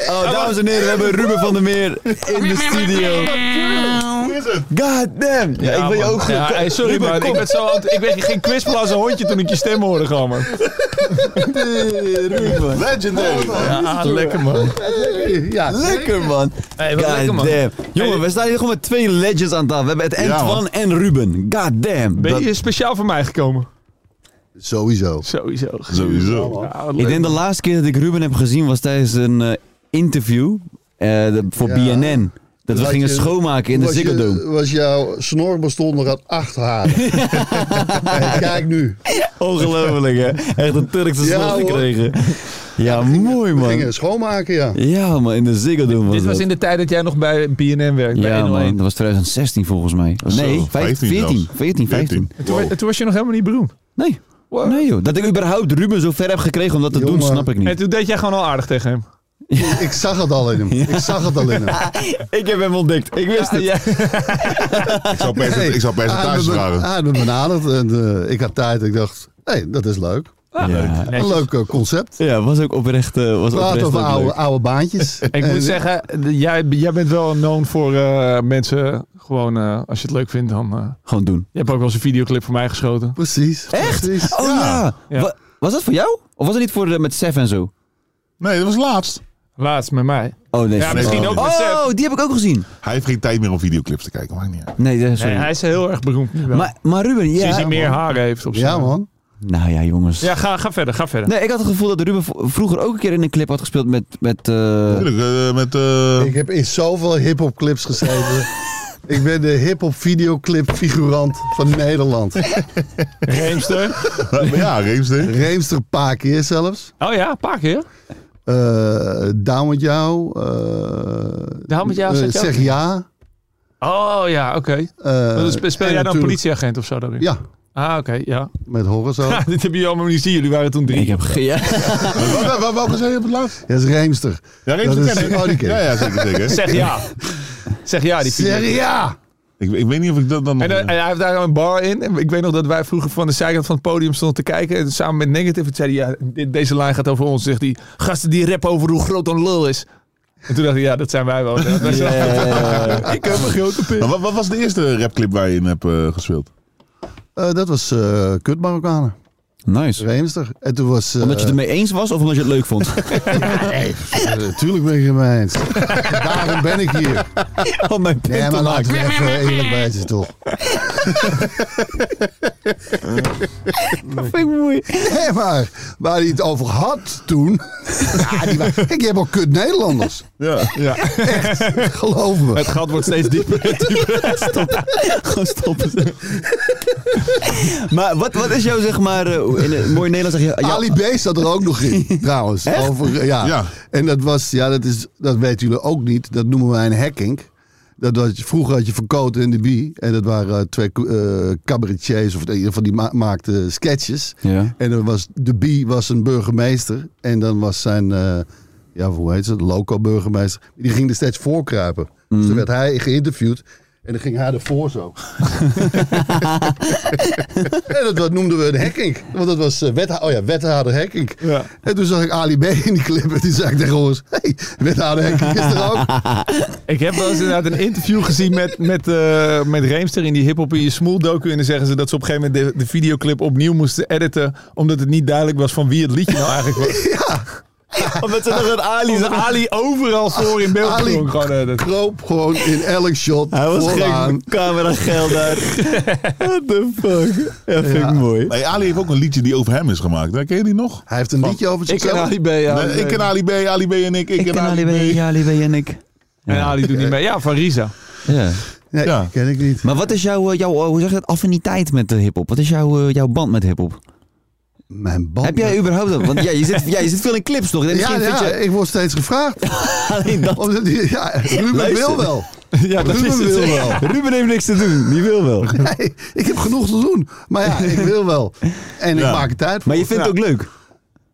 Speaker 2: Oh, dames en heren, we hebben Ruben van der Meer in de studio. God damn.
Speaker 4: Ja,
Speaker 2: Ja, ik wil je
Speaker 4: man.
Speaker 2: ook goed.
Speaker 4: Ja, hey, sorry
Speaker 2: Ruben,
Speaker 4: man,
Speaker 2: kom.
Speaker 4: ik, werd zo, ant- ik, werd- ik ging kwispelen als een hondje toen ik je stem hoorde gewoon man.
Speaker 3: Legendary.
Speaker 2: ah,
Speaker 4: Ja, lekker man.
Speaker 6: Ja.
Speaker 2: Lekker man.
Speaker 4: Hey, wat
Speaker 2: God
Speaker 4: lekker man.
Speaker 2: damn. Jongen,
Speaker 4: Hey.
Speaker 2: we staan hier gewoon met twee legends aan tafel. We hebben het
Speaker 3: Ja,
Speaker 2: Antoine en Ruben. God damn.
Speaker 4: Ben
Speaker 2: Dat-
Speaker 4: je speciaal voor mij gekomen?
Speaker 6: Sowieso.
Speaker 4: Sowieso.
Speaker 3: Sowieso.
Speaker 4: Ja, wat
Speaker 2: Ik
Speaker 4: Ah, leuk.
Speaker 2: denk de laatste keer dat ik Ruben heb gezien was tijdens een eh, interview eh, de- voor
Speaker 6: Ja.
Speaker 2: BNN. Dat we
Speaker 6: Dat
Speaker 2: gingen
Speaker 6: je-
Speaker 2: schoonmaken in de
Speaker 6: Was je-
Speaker 2: Ziggo Dome.
Speaker 6: Was jouw snor bestond nog uit acht haren. en kijk nu.
Speaker 2: Ongelooflijk, hè? Echt een Turkse
Speaker 6: Ja,
Speaker 2: slag
Speaker 6: hoor.
Speaker 2: gekregen. Ja, mooi,
Speaker 6: We
Speaker 2: man.
Speaker 6: gingen schoonmaken, ja.
Speaker 2: Ja, man, in de Ziggo Dome was
Speaker 4: Dit was
Speaker 2: dat.
Speaker 4: in de tijd dat jij nog bij BNN werkte. bij
Speaker 2: Ja,
Speaker 4: 101.
Speaker 2: man. Dat was 2016 volgens mij. Nee,
Speaker 3: 15
Speaker 2: 15, 14,
Speaker 3: zelfs.
Speaker 2: 14, 15.
Speaker 4: En toen, en toen was je nog helemaal niet beroemd.
Speaker 2: Nee. Nee, joh. Dat ik überhaupt Ruben zo ver heb gekregen om dat te doen,
Speaker 6: Jongen.
Speaker 2: snap ik
Speaker 4: En
Speaker 2: niet.
Speaker 4: toen deed jij gewoon al aardig tegen hem.
Speaker 6: Ik zag het al in hem. Ik zag het al in hem.
Speaker 2: Ik heb hem ontdekt. Ik wist het.
Speaker 3: Ik zou percent-
Speaker 6: Nee,
Speaker 3: Ik zou percentages
Speaker 6: hij had me-
Speaker 3: vragen.
Speaker 6: Hij had me benaderd en eh, ik had tijd. Ik dacht, hé, hey, dat is leuk.
Speaker 2: Ja.
Speaker 6: Een leuk eh, concept.
Speaker 2: Ja, was ook oprecht. eh, was
Speaker 6: Praat
Speaker 2: oprecht
Speaker 6: over
Speaker 2: ook
Speaker 6: oude,
Speaker 2: leuk.
Speaker 6: oude baantjes.
Speaker 4: Ik moet zeggen, de- jij, jij bent wel een known voor eh, mensen. Gewoon, eh, als je het leuk vindt, dan... eh,
Speaker 2: Gewoon doen.
Speaker 4: je hebt ook wel eens een videoclip voor mij geschoten.
Speaker 6: Precies.
Speaker 2: Echt?
Speaker 6: Precies.
Speaker 2: Oh ja.
Speaker 4: Ja.
Speaker 2: Wa- was dat voor jou? Of was het niet voor eh, met Sef en zo?
Speaker 3: Nee, dat was laatst.
Speaker 4: Laatst met mij.
Speaker 2: Oh nee.
Speaker 4: Ja,
Speaker 2: sorry.
Speaker 4: misschien
Speaker 3: Oh.
Speaker 4: ook met Sef.
Speaker 2: Oh, die heb ik ook gezien.
Speaker 3: Hij heeft geen tijd meer om videoclips te kijken. Maakt niet uit.
Speaker 2: Nee, eh, sorry.
Speaker 4: Nee, hij is heel erg beroemd nu wel.
Speaker 2: maar, maar Ruben,
Speaker 4: Sinds
Speaker 2: ja.
Speaker 4: hij meer haren heeft op zijn...
Speaker 6: Ja, man.
Speaker 2: Nou ja, jongens.
Speaker 4: Ja, ga, ga verder, ga verder.
Speaker 2: Nee, ik had het gevoel dat Ruben v- vroeger ook een keer in een clip had gespeeld met... met eh,
Speaker 3: Tuurlijk, eh, met... eh,
Speaker 6: Ik heb in zoveel hip-hop clips gezeten. ik ben de hip-hop videoclip figurant van Nederland.
Speaker 4: Reemster.
Speaker 3: maar ja, Reemsteen.
Speaker 6: Reemster een paar keer zelfs.
Speaker 4: Oh ja, een paar keer.
Speaker 6: Eh, down met jou. eh,
Speaker 4: Down With Jou,
Speaker 6: eh,
Speaker 4: zeg je ook?
Speaker 6: zeg ja.
Speaker 4: Oh ja, oké.
Speaker 6: eh,
Speaker 4: Dan spe- Speel
Speaker 6: en
Speaker 4: jij dan
Speaker 6: natuurlijk-
Speaker 4: politieagent of zo daarin?
Speaker 6: Ja,
Speaker 4: Ah, oké, ja.
Speaker 6: met Horizon.
Speaker 4: Ha, dit hebben jullie allemaal niet zien. Jullie waren toen drie.
Speaker 2: ik heb... ge- Ja.
Speaker 3: Wel- wel- Welke zei je op het laatst?
Speaker 6: Dat is Reemster.
Speaker 3: Ja,
Speaker 6: Dat
Speaker 3: Reemsteen
Speaker 6: is-
Speaker 3: ken ik.
Speaker 6: oh, die ken ik.
Speaker 3: Ja, ja, zeker, zeker.
Speaker 4: Zeg ja. Zeg ja, die video.
Speaker 6: Zeg ja!
Speaker 3: Ik, ik weet niet of ik dat dan nog...
Speaker 4: En, eh, en hij heeft daar een bar in. En Ik weet nog dat wij vroeger van de zijkant van het podium stonden te kijken. En samen met Negative en zei hij, ja, dit- deze lijn gaat over ons. Zegt hij, gasten die rap over hoe groot een lul is. En toen dacht ik, ja, dat zijn wij wel.
Speaker 2: Ja.
Speaker 4: Ik heb een grote pik.
Speaker 3: Maar wat, wat was de eerste rapclip waar je in hebt eh, gespeeld?
Speaker 6: Eh, dat was eh Kut Marokkanen.
Speaker 2: Nice.
Speaker 6: Reemster. En toen was... eh,
Speaker 2: Omdat je het ermee eens was of omdat je het leuk vond?
Speaker 6: Nee, natuurlijk eh, ben ik het mee eens. Daarom ben ik hier.
Speaker 2: Om Oh, mijn punt
Speaker 6: Nee,
Speaker 2: te
Speaker 6: maar laat
Speaker 2: maken.
Speaker 6: ik er even eerlijk bij zijn, toch?
Speaker 2: Dat vind ik mooi.
Speaker 6: Nee, maar waar hij het over had toen. Ja, die wa- Kijk, je hebt ook kut Nederlanders.
Speaker 3: Ja.
Speaker 6: Geloof me.
Speaker 4: Het gat wordt steeds dieper.
Speaker 2: Gewoon stoppen. maar wat, wat is jouw, zeg maar... eh, in het mooi Nederlands zeg je...
Speaker 6: Ali B zat er ook nog in, trouwens. Over, eh, ja.
Speaker 3: Ja.
Speaker 6: En dat was, ja, dat, is, dat weten jullie ook niet. Dat noemen wij een hacking. Dat was, vroeger had je Van Koten en de Bie. En dat waren eh, twee eh cabaretiers, of in ieder geval die ma- maakten sketches.
Speaker 2: Ja.
Speaker 6: En dan was de Bie was een burgemeester. En dan was zijn, eh, ja, hoe heet ze, loco-burgemeester. Die ging er steeds voor kruipen. Dus
Speaker 2: Mm.
Speaker 6: dan werd hij geïnterviewd. En dan ging hij ervoor zo. en dat, dat noemden we een hacking. Want dat was eh, wetha- oh ja, wethouder hacking.
Speaker 4: Ja.
Speaker 6: En toen zag ik Ali B in die clip. En die zei ik tegen ons, hey, wethouder hacking is er ook.
Speaker 4: Ik heb wel eens inderdaad een interview gezien met, met, eh, met Reemster in die hip-hop in je smoel docu. En dan zeggen ze dat ze op een gegeven moment de, de videoclip opnieuw moesten editen. Omdat het niet duidelijk was van wie het liedje nou eigenlijk was.
Speaker 2: Omdat ze nog een Ali
Speaker 4: Omdat Ali overal voor in beeld
Speaker 6: Ali-
Speaker 4: klonk. Gewoon, eh, dat-
Speaker 6: Kroop gewoon in elk shot
Speaker 2: Hij was
Speaker 6: vooraan.
Speaker 2: geen camera geld uit. What the fuck? Ja, vind ik mooi.
Speaker 3: Nee, Ali heeft ook een liedje die over hem is gemaakt. hè? Ken je die nog?
Speaker 6: Hij heeft een liedje over
Speaker 4: Ik
Speaker 6: zichzelf.
Speaker 4: ken Ali B. ja.
Speaker 3: Oh. Nee, ik ken Ali B, Ali B en ik. Ik, ken Ali B.
Speaker 2: Ali B en ik.
Speaker 4: En Ali doet niet mee. Ja, Eh. van Risa.
Speaker 2: Ja.
Speaker 6: Nee,
Speaker 3: Ja.
Speaker 6: ken ik niet.
Speaker 2: Maar wat is jouw, eh, jouw eh, hoe zeg je dat, affiniteit met de hiphop? Wat is jouw, eh, jouw band met hiphop?
Speaker 6: Mijn band.
Speaker 2: Heb jij überhaupt dat? Want ja, je, zit, ja, je zit veel in clips toch?
Speaker 6: Ja,
Speaker 2: Misschien
Speaker 6: ja
Speaker 2: vind je
Speaker 6: ik word steeds gevraagd.
Speaker 2: alleen dat.
Speaker 6: Omdat die- ja, Ruben
Speaker 2: Luister.
Speaker 6: wil wel.
Speaker 4: Ja, dat
Speaker 6: Ruben
Speaker 4: is
Speaker 6: wil
Speaker 4: het.
Speaker 6: wel.
Speaker 2: Ruben heeft niks te doen, die wil wel.
Speaker 6: Nee, ik heb genoeg te doen. Maar ja, ik wil wel. En
Speaker 3: Ja.
Speaker 6: ik maak er tijd voor.
Speaker 2: Maar je vindt het ook leuk.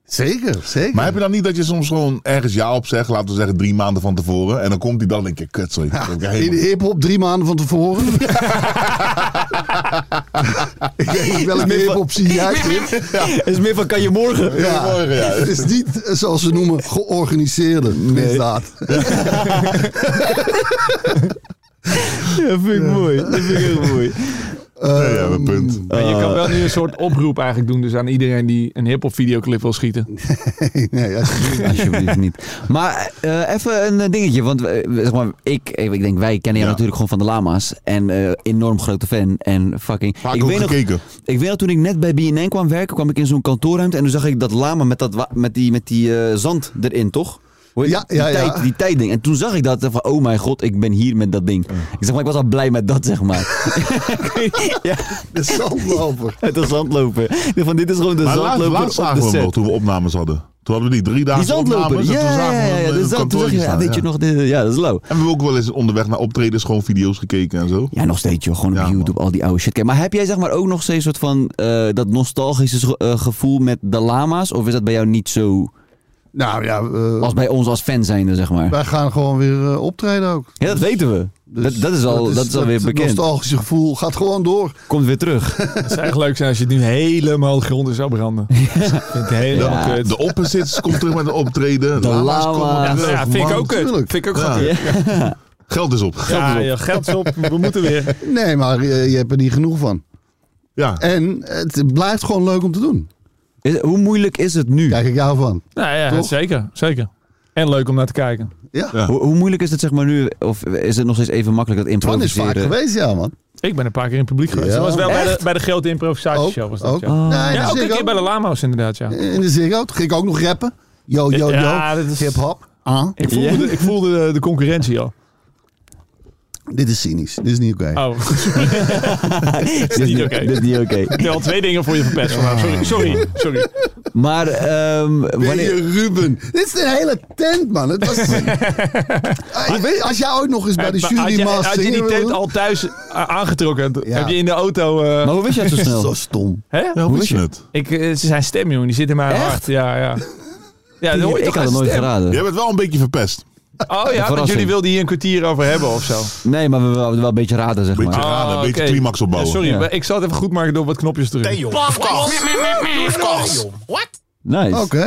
Speaker 6: Zeker, zeker.
Speaker 3: Maar heb je dan niet dat je soms gewoon ergens ja op zegt, laten we zeggen drie maanden van tevoren, en dan komt die dan denk je, kut, sorry. Dat heb ik
Speaker 6: in de
Speaker 3: helemaal-
Speaker 6: hip-hop drie maanden van tevoren. ik weet niet welke hip-hop zie jij zit.
Speaker 2: is meer van kan je morgen.
Speaker 6: Ja,
Speaker 3: Morgen, ja.
Speaker 6: het is niet eh, zoals ze noemen georganiseerde misdaad.
Speaker 2: Dat vind ik mooi. Dat vind ik heel mooi.
Speaker 3: Nee, ja, mijn punt.
Speaker 4: Maar je kan wel nu een soort oproep eigenlijk doen dus aan iedereen die een hip-hop videoclip wil schieten.
Speaker 6: nee, alsjeblieft.
Speaker 2: Alsjeblieft niet. Maar eh, even een eh, dingetje. Want eh, zeg maar, ik, eh, ik denk, wij kennen jou
Speaker 3: Ja.
Speaker 2: natuurlijk gewoon van de lama's. En eh, enorm grote fan. En fucking...
Speaker 3: Vaak
Speaker 2: ik
Speaker 3: ook
Speaker 2: weet nog,
Speaker 3: gekeken.
Speaker 2: ik weet nog, toen ik net bij BNN kwam werken, kwam ik in zo'n kantoorruimte. En toen zag ik dat lama met, dat, wa- met die, met die eh, zand erin, toch? Hoe heet
Speaker 6: Ja,
Speaker 2: die,
Speaker 6: ja, ja.
Speaker 2: Tijd, die tijdding. En toen zag ik dat. eh, Van, oh mijn god, ik ben hier met dat ding. Ik zeg maar, ik was al blij met dat, zeg maar. ja,
Speaker 6: de zandloper.
Speaker 2: met de zandlopen. Ik dacht Van, dit is gewoon de
Speaker 3: Maar laatst,
Speaker 2: zandloper
Speaker 3: laatst
Speaker 2: op
Speaker 3: zagen
Speaker 2: de
Speaker 3: we hem
Speaker 2: set.
Speaker 3: nog toen we opnames hadden. Toen hadden we die drie dagen
Speaker 2: Die zandloper.
Speaker 3: opnames
Speaker 2: Ja,
Speaker 3: en toen
Speaker 2: ja,
Speaker 3: zagen we
Speaker 2: ja.
Speaker 3: hem
Speaker 2: ja,
Speaker 3: in het
Speaker 2: dus dat- toen
Speaker 3: kantoortje
Speaker 2: zeg je, ja,
Speaker 3: staan,
Speaker 2: weet je
Speaker 3: ja.
Speaker 2: nog, dit, ja, dat is lauw.
Speaker 3: En we hebben ook wel eens onderweg naar optredens gewoon video's gekeken en zo.
Speaker 2: Ja, nog steeds joh. Gewoon op
Speaker 3: Ja, man.
Speaker 2: YouTube al die oude shit. kijken. Maar heb jij zeg maar ook nog steeds soort van eh, dat nostalgische ge- eh, gevoel met de lama's? Of is dat bij jou niet zo
Speaker 6: Nou ja, eh,
Speaker 2: als bij ons als fan zijnde, zeg maar?
Speaker 6: wij gaan gewoon weer eh, optreden ook.
Speaker 2: Ja,
Speaker 6: Dus
Speaker 2: dat weten we. dat, dat is al, dus- dat is alweer bekend.
Speaker 6: Het nostalgische gevoel gaat gewoon door.
Speaker 2: Komt weer terug.
Speaker 4: Het zou echt leuk zijn als je het nu helemaal de grond in zou branden. Ik vind het helemaal kut.
Speaker 3: De opposites komt terug met een optreden.
Speaker 2: De
Speaker 3: Lama's komen
Speaker 2: lama's.
Speaker 3: terug,
Speaker 4: Ja, vind
Speaker 3: man.
Speaker 4: ik ook kut.
Speaker 6: tuurlijk.
Speaker 4: Vind ik ook gewoon
Speaker 3: Ja.
Speaker 4: kut.
Speaker 3: Geld is op. Geld
Speaker 4: Ja,
Speaker 3: is op.
Speaker 4: ja, geld is op. We moeten weer.
Speaker 6: Nee, maar eh, je hebt er niet genoeg van.
Speaker 3: Ja.
Speaker 6: En het blijft gewoon leuk om te doen.
Speaker 2: Is- hoe moeilijk is het nu?
Speaker 6: Kijk ik jou van.
Speaker 4: Nou ja,
Speaker 6: Toch?
Speaker 4: zeker. Zeker. En leuk om naar te kijken.
Speaker 6: Ja,
Speaker 3: Ja.
Speaker 2: Hoe, hoe moeilijk is het zeg maar nu? Of is het nog steeds even makkelijk dat
Speaker 6: Twan is
Speaker 2: improviseren?
Speaker 6: vaak geweest, ja man.
Speaker 4: Ik ben een paar keer in het publiek geweest.
Speaker 6: Ja.
Speaker 4: Dat was wel bij de,
Speaker 2: Echt?
Speaker 4: bij de grote
Speaker 6: Ook,
Speaker 4: improvisatieshow. Was dat,
Speaker 6: ook. Oh,
Speaker 4: Ja.
Speaker 2: Oh.
Speaker 6: Nee,
Speaker 4: Ja,
Speaker 6: in de
Speaker 4: ook een
Speaker 6: Ziggo.
Speaker 4: keer bij de Lama's inderdaad, ja.
Speaker 6: In de Ziggo. Toen ging ik ook nog rappen. Yo, yo, yo.
Speaker 4: Ja, dat is-
Speaker 6: Hip-hop. Ah.
Speaker 4: Ik voelde,
Speaker 2: Ja.
Speaker 4: de, ik voelde de, de concurrentie al.
Speaker 6: Dit is cynisch. Dit is niet oké.
Speaker 4: Oh,
Speaker 2: Dit is niet
Speaker 4: oké.
Speaker 2: Dit is niet oké.
Speaker 4: ik heb al twee dingen voor je verpest vandaag. Sorry, sorry, sorry.
Speaker 2: Maar ehm,
Speaker 6: Ben
Speaker 2: wanneer...
Speaker 6: je Ruben? Dit is de hele tent, man. Het was... Ah, ik weet, als jij ooit nog eens bij de
Speaker 4: Eh, Maar had
Speaker 6: jury
Speaker 4: je,
Speaker 6: mag
Speaker 4: had je die
Speaker 6: zingen,
Speaker 4: tent
Speaker 6: Ruben?
Speaker 4: al thuis a- aangetrokken?
Speaker 6: Ja.
Speaker 4: Heb je in de auto... eh,
Speaker 2: Maar hoe wist je dat zo snel?
Speaker 6: Zo stom.
Speaker 4: hè?
Speaker 3: Ja, hoe
Speaker 2: wist
Speaker 3: wist je
Speaker 2: je?
Speaker 3: het?
Speaker 4: Ik, eh, ze zijn stem, jongen. Die zit in mijn
Speaker 2: Echt?
Speaker 4: hart. Ja, ja. Ja, dat hoor je
Speaker 2: ik
Speaker 4: toch
Speaker 2: had het
Speaker 4: aan
Speaker 2: nooit
Speaker 4: stem.
Speaker 2: geraden.
Speaker 3: Jij bent wel een beetje verpest.
Speaker 4: Oh ja, want
Speaker 2: verrassing.
Speaker 4: jullie wilden hier een kwartier over hebben of zo.
Speaker 2: Nee, maar we wilden wel een beetje raden, zeg
Speaker 3: Beetje
Speaker 2: maar.
Speaker 3: raden, een
Speaker 4: Ah,
Speaker 3: beetje
Speaker 4: oké.
Speaker 3: climax opbouwen.
Speaker 4: Ja, sorry,
Speaker 2: Ja.
Speaker 4: maar ik zal het even goed maken door wat knopjes te drukken.
Speaker 2: Nice.
Speaker 6: Oké,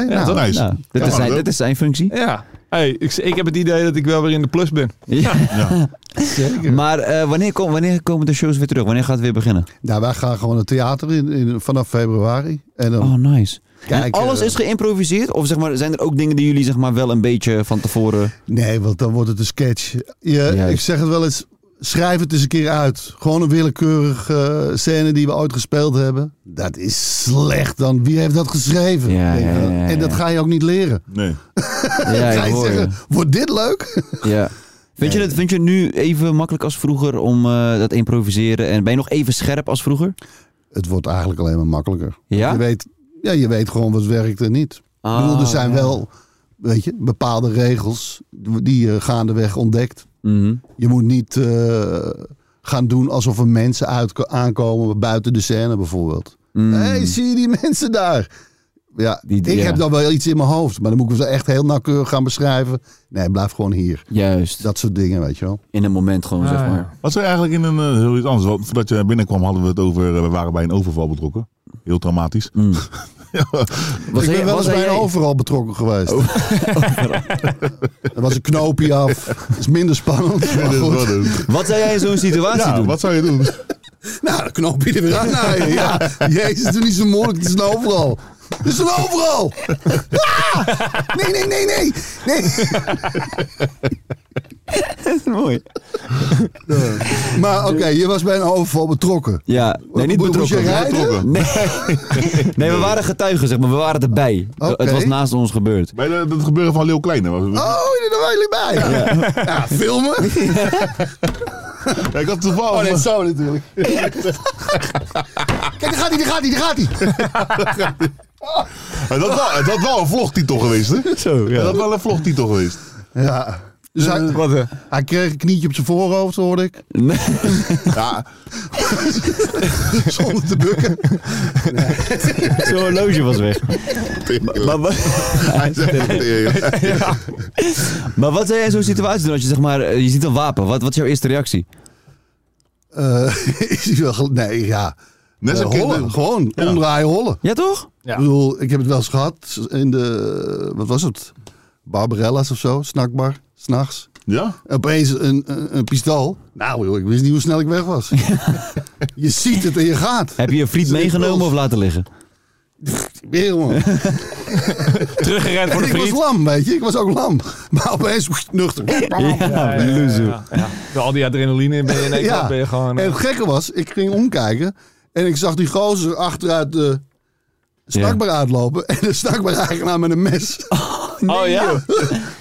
Speaker 6: nou.
Speaker 3: dat- Nice.
Speaker 2: Nou, dit,
Speaker 3: Ja,
Speaker 2: is zijn,
Speaker 3: leuk.
Speaker 2: dit is zijn functie.
Speaker 4: Ja. Hey, ik, ik heb het idee dat ik wel weer in de plus ben.
Speaker 3: Ja.
Speaker 2: Maar eh, wanneer, kom, wanneer komen de shows weer terug? Wanneer gaat het weer beginnen?
Speaker 6: Nou, wij gaan gewoon het theater in, in vanaf februari. En dan
Speaker 2: Oh, nice.
Speaker 6: Kijk,
Speaker 2: en alles
Speaker 6: eh,
Speaker 2: is geïmproviseerd? Of zeg maar, zijn er ook dingen die jullie zeg maar, wel een beetje van tevoren...
Speaker 6: Nee, want dan wordt het een sketch. Je,
Speaker 2: Juist.
Speaker 6: ik zeg het wel eens, schrijf het eens een keer uit. Gewoon een willekeurige eh, scène die we ooit gespeeld hebben. Dat is slecht dan. Wie heeft dat geschreven?
Speaker 2: Ja,
Speaker 6: Denk je
Speaker 2: ja,
Speaker 6: dan.
Speaker 2: ja, ja,
Speaker 6: En dat
Speaker 2: ja.
Speaker 6: ga je ook niet leren.
Speaker 3: Nee.
Speaker 2: Ja,
Speaker 6: ga
Speaker 2: ik
Speaker 6: je
Speaker 2: hoor je.
Speaker 6: zeggen, wordt dit leuk?
Speaker 2: Ja. Vind, je het, vind je het nu even makkelijk als vroeger om eh, dat improviseren? En ben je nog even scherp als vroeger?
Speaker 6: Het wordt eigenlijk alleen maar makkelijker.
Speaker 2: Ja?
Speaker 6: Je, weet, ja, je weet gewoon wat werkt en niet.
Speaker 2: Ah,
Speaker 6: ik bedoel, er zijn
Speaker 2: ja.
Speaker 6: wel weet je, bepaalde regels die je gaandeweg ontdekt.
Speaker 2: Mhm.
Speaker 6: Je moet niet eh, gaan doen alsof er mensen uitko- aankomen buiten de scène bijvoorbeeld.
Speaker 2: Mm.
Speaker 6: Hé, hey, zie je die mensen daar? Ja,
Speaker 2: Die-
Speaker 6: ik
Speaker 2: ja.
Speaker 6: heb dan wel iets in mijn hoofd, maar dan moet ik het wel echt heel nauwkeurig gaan beschrijven. Nee, blijf gewoon hier.
Speaker 2: Juist.
Speaker 6: Dat soort dingen, weet je wel.
Speaker 2: In een moment gewoon, zeg
Speaker 4: Ah, ja.
Speaker 2: maar.
Speaker 3: Wat zou je eigenlijk in een eh, heel iets anders? Want voordat je binnenkwam hadden we het over. eh, we waren bij een overval betrokken. Heel traumatisch.
Speaker 2: Mm. Was
Speaker 6: ik
Speaker 2: hij-
Speaker 6: ben wel
Speaker 2: was Oh.
Speaker 6: eens
Speaker 2: hij
Speaker 6: bij een
Speaker 2: jij?
Speaker 6: overal betrokken geweest. er was een knoopje af. Dat is minder spannend. maar
Speaker 3: Dit is
Speaker 6: goed.
Speaker 3: wat het-
Speaker 2: Wat zou jij in zo'n situatie
Speaker 3: Ja,
Speaker 2: doen?
Speaker 3: wat zou je doen?
Speaker 6: Nou, de knoopje er weer aan. naaien, ja. Jezus, doe niet zo moeilijk. Het is een overal. Het is een overal. Ah! Nee, nee, nee, nee. nee.
Speaker 2: Mooi.
Speaker 6: Maar oké, je was bij een overval betrokken.
Speaker 2: Ja, nee, niet
Speaker 6: Moest je
Speaker 2: betrokken.
Speaker 6: rijden?
Speaker 2: Betrokken. Nee. nee, we waren getuigen, zeg maar. We waren erbij.
Speaker 6: Oké.
Speaker 2: Het was naast ons gebeurd.
Speaker 3: Bij de- het gebeuren van Leeuw Kleine. Was, het.
Speaker 6: Oh, daar waren jullie bij. Ja. filmen. Oh,
Speaker 3: Ja, ik had toevallig.
Speaker 6: zo natuurlijk. Kijk, daar gaat hij, daar gaat hij, daar gaat hij.
Speaker 3: dat, was wel, dat wel een vlogtitel geweest, hè?
Speaker 2: Zo,
Speaker 3: Dat was wel een vlogtitel geweest.
Speaker 6: Ja. Dus hij,
Speaker 4: Wat, eh,
Speaker 6: hij kreeg een knietje op zijn voorhoofd, hoorde ik.
Speaker 3: Ja,
Speaker 6: Zonder te bukken.
Speaker 2: Zo'n horloge was weg. Maar, wa-
Speaker 3: hij zegt het tegen.
Speaker 2: maar wat zou jij in zo'n situatie doen als je zeg maar, eh, je ziet een wapen? Wat, wat is jouw eerste reactie?
Speaker 6: Eh, is hij wel... gel- Nee, ja.
Speaker 3: Net
Speaker 6: Eh,
Speaker 3: zo'n
Speaker 6: hollen.
Speaker 3: kinderen.
Speaker 6: Gewoon. Omdraaien, hollen.
Speaker 2: Ja toch?
Speaker 4: Ja.
Speaker 6: Ik bedoel, ik heb het wel eens gehad in de... eh, Wat was het? Barbarella's of zo. Snackbar. S'nachts.
Speaker 3: Ja?
Speaker 6: Opeens een, een, een pistool. Nou joh, ik wist niet hoe snel ik weg was. je ziet het en je gaat.
Speaker 2: Heb je een friet
Speaker 6: Slim
Speaker 2: meegenomen
Speaker 6: Puls.
Speaker 2: of laten liggen?
Speaker 6: Weer, man.
Speaker 4: teruggerend voor de
Speaker 6: Ik was
Speaker 4: vriend.
Speaker 6: lam, weet je. Ik was ook lam. Maar opeens woest, nuchter.
Speaker 4: Ja, ja, ja, ja, ja. Door Al die adrenaline in ben je in één keer
Speaker 6: Ja.
Speaker 4: ben je gewoon... eh,
Speaker 6: En het gekke was, ik ging omkijken en ik zag die gozer achteruit de snackbar uitlopen. En de snackbar eigenaar met een mes.
Speaker 4: oh ja?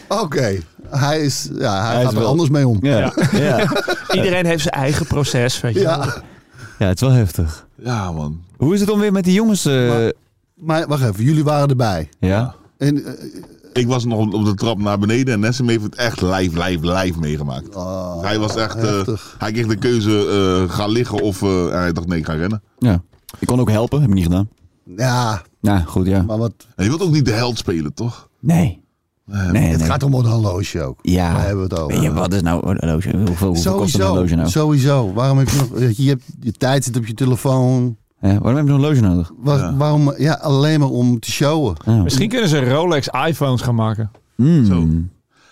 Speaker 6: Oké, hij is, ja, hij,
Speaker 2: Hij
Speaker 6: gaat
Speaker 2: is
Speaker 6: er
Speaker 2: wel-
Speaker 6: anders mee om. Ja,
Speaker 2: Ja. Ja.
Speaker 4: Iedereen heeft zijn eigen proces, weet je.
Speaker 2: ja, het is wel heftig.
Speaker 3: Ja, man.
Speaker 2: Hoe is het om weer met die jongens... eh,
Speaker 6: maar wacht even, jullie waren erbij.
Speaker 2: ja?
Speaker 6: En, eh,
Speaker 3: Ik was nog op de trap naar beneden en Nessim heeft het echt live, live, live meegemaakt. hij was echt... eh,
Speaker 6: heftig.
Speaker 3: hij kreeg de keuze, eh ga liggen of... eh, hij dacht, nee, ik ga rennen.
Speaker 2: ja. Ik kon ook helpen, heb ik niet gedaan.
Speaker 6: ja,
Speaker 2: Nou, goed ja.
Speaker 6: maar wat,
Speaker 3: En je wilt ook niet de held spelen, toch?
Speaker 2: Nee. Nee,
Speaker 6: het
Speaker 2: nee.
Speaker 6: gaat om het horloge ook.
Speaker 2: Ja.
Speaker 6: Daar hebben we het
Speaker 2: Weet je,
Speaker 6: over.
Speaker 2: wat is nou een horloge? Hoeveel, hoeveel kost een
Speaker 6: Sowieso,
Speaker 2: horloge nou?
Speaker 6: sowieso. Waarom heb je nog, weet je, je, hebt, je tijd zit op je telefoon.
Speaker 2: Hè, waarom heb je een horloge nodig?
Speaker 6: Waar- Waarom, ja, alleen maar om te showen.
Speaker 4: Misschien kunnen ze Rolex iPhones gaan maken.
Speaker 2: Mm.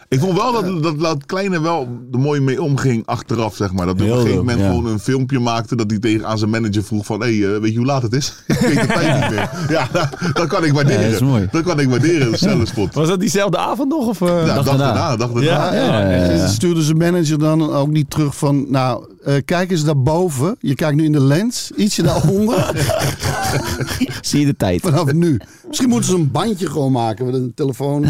Speaker 3: Ik vond wel dat, dat, dat Kleine wel er mooi mee omging achteraf, zeg maar. Dat hij op
Speaker 2: Heel
Speaker 3: een gegeven
Speaker 2: dope,
Speaker 3: moment
Speaker 2: ja.
Speaker 3: gewoon een filmpje maakte dat hij tegen aan zijn manager vroeg van... Hé, hey, eh, weet je hoe laat het is? ik weet de tijd niet meer. Ja, dat kan ik waarderen.
Speaker 2: Ja, dat is mooi.
Speaker 3: Dat kan ik waarderen, zelfs spot.
Speaker 4: Was dat diezelfde avond nog? Of, eh?
Speaker 3: Ja, dag,
Speaker 2: daarna.
Speaker 3: daarna, dag daarna.
Speaker 4: Ja, ja, ja,
Speaker 6: En ze stuurde zijn manager dan ook niet terug van, nou, eh, kijk eens daarboven. Je kijkt nu in de lens, ietsje daaronder,
Speaker 2: Zie je de tijd?
Speaker 6: vanaf nu. Misschien moeten ze een bandje gewoon maken met een telefoon.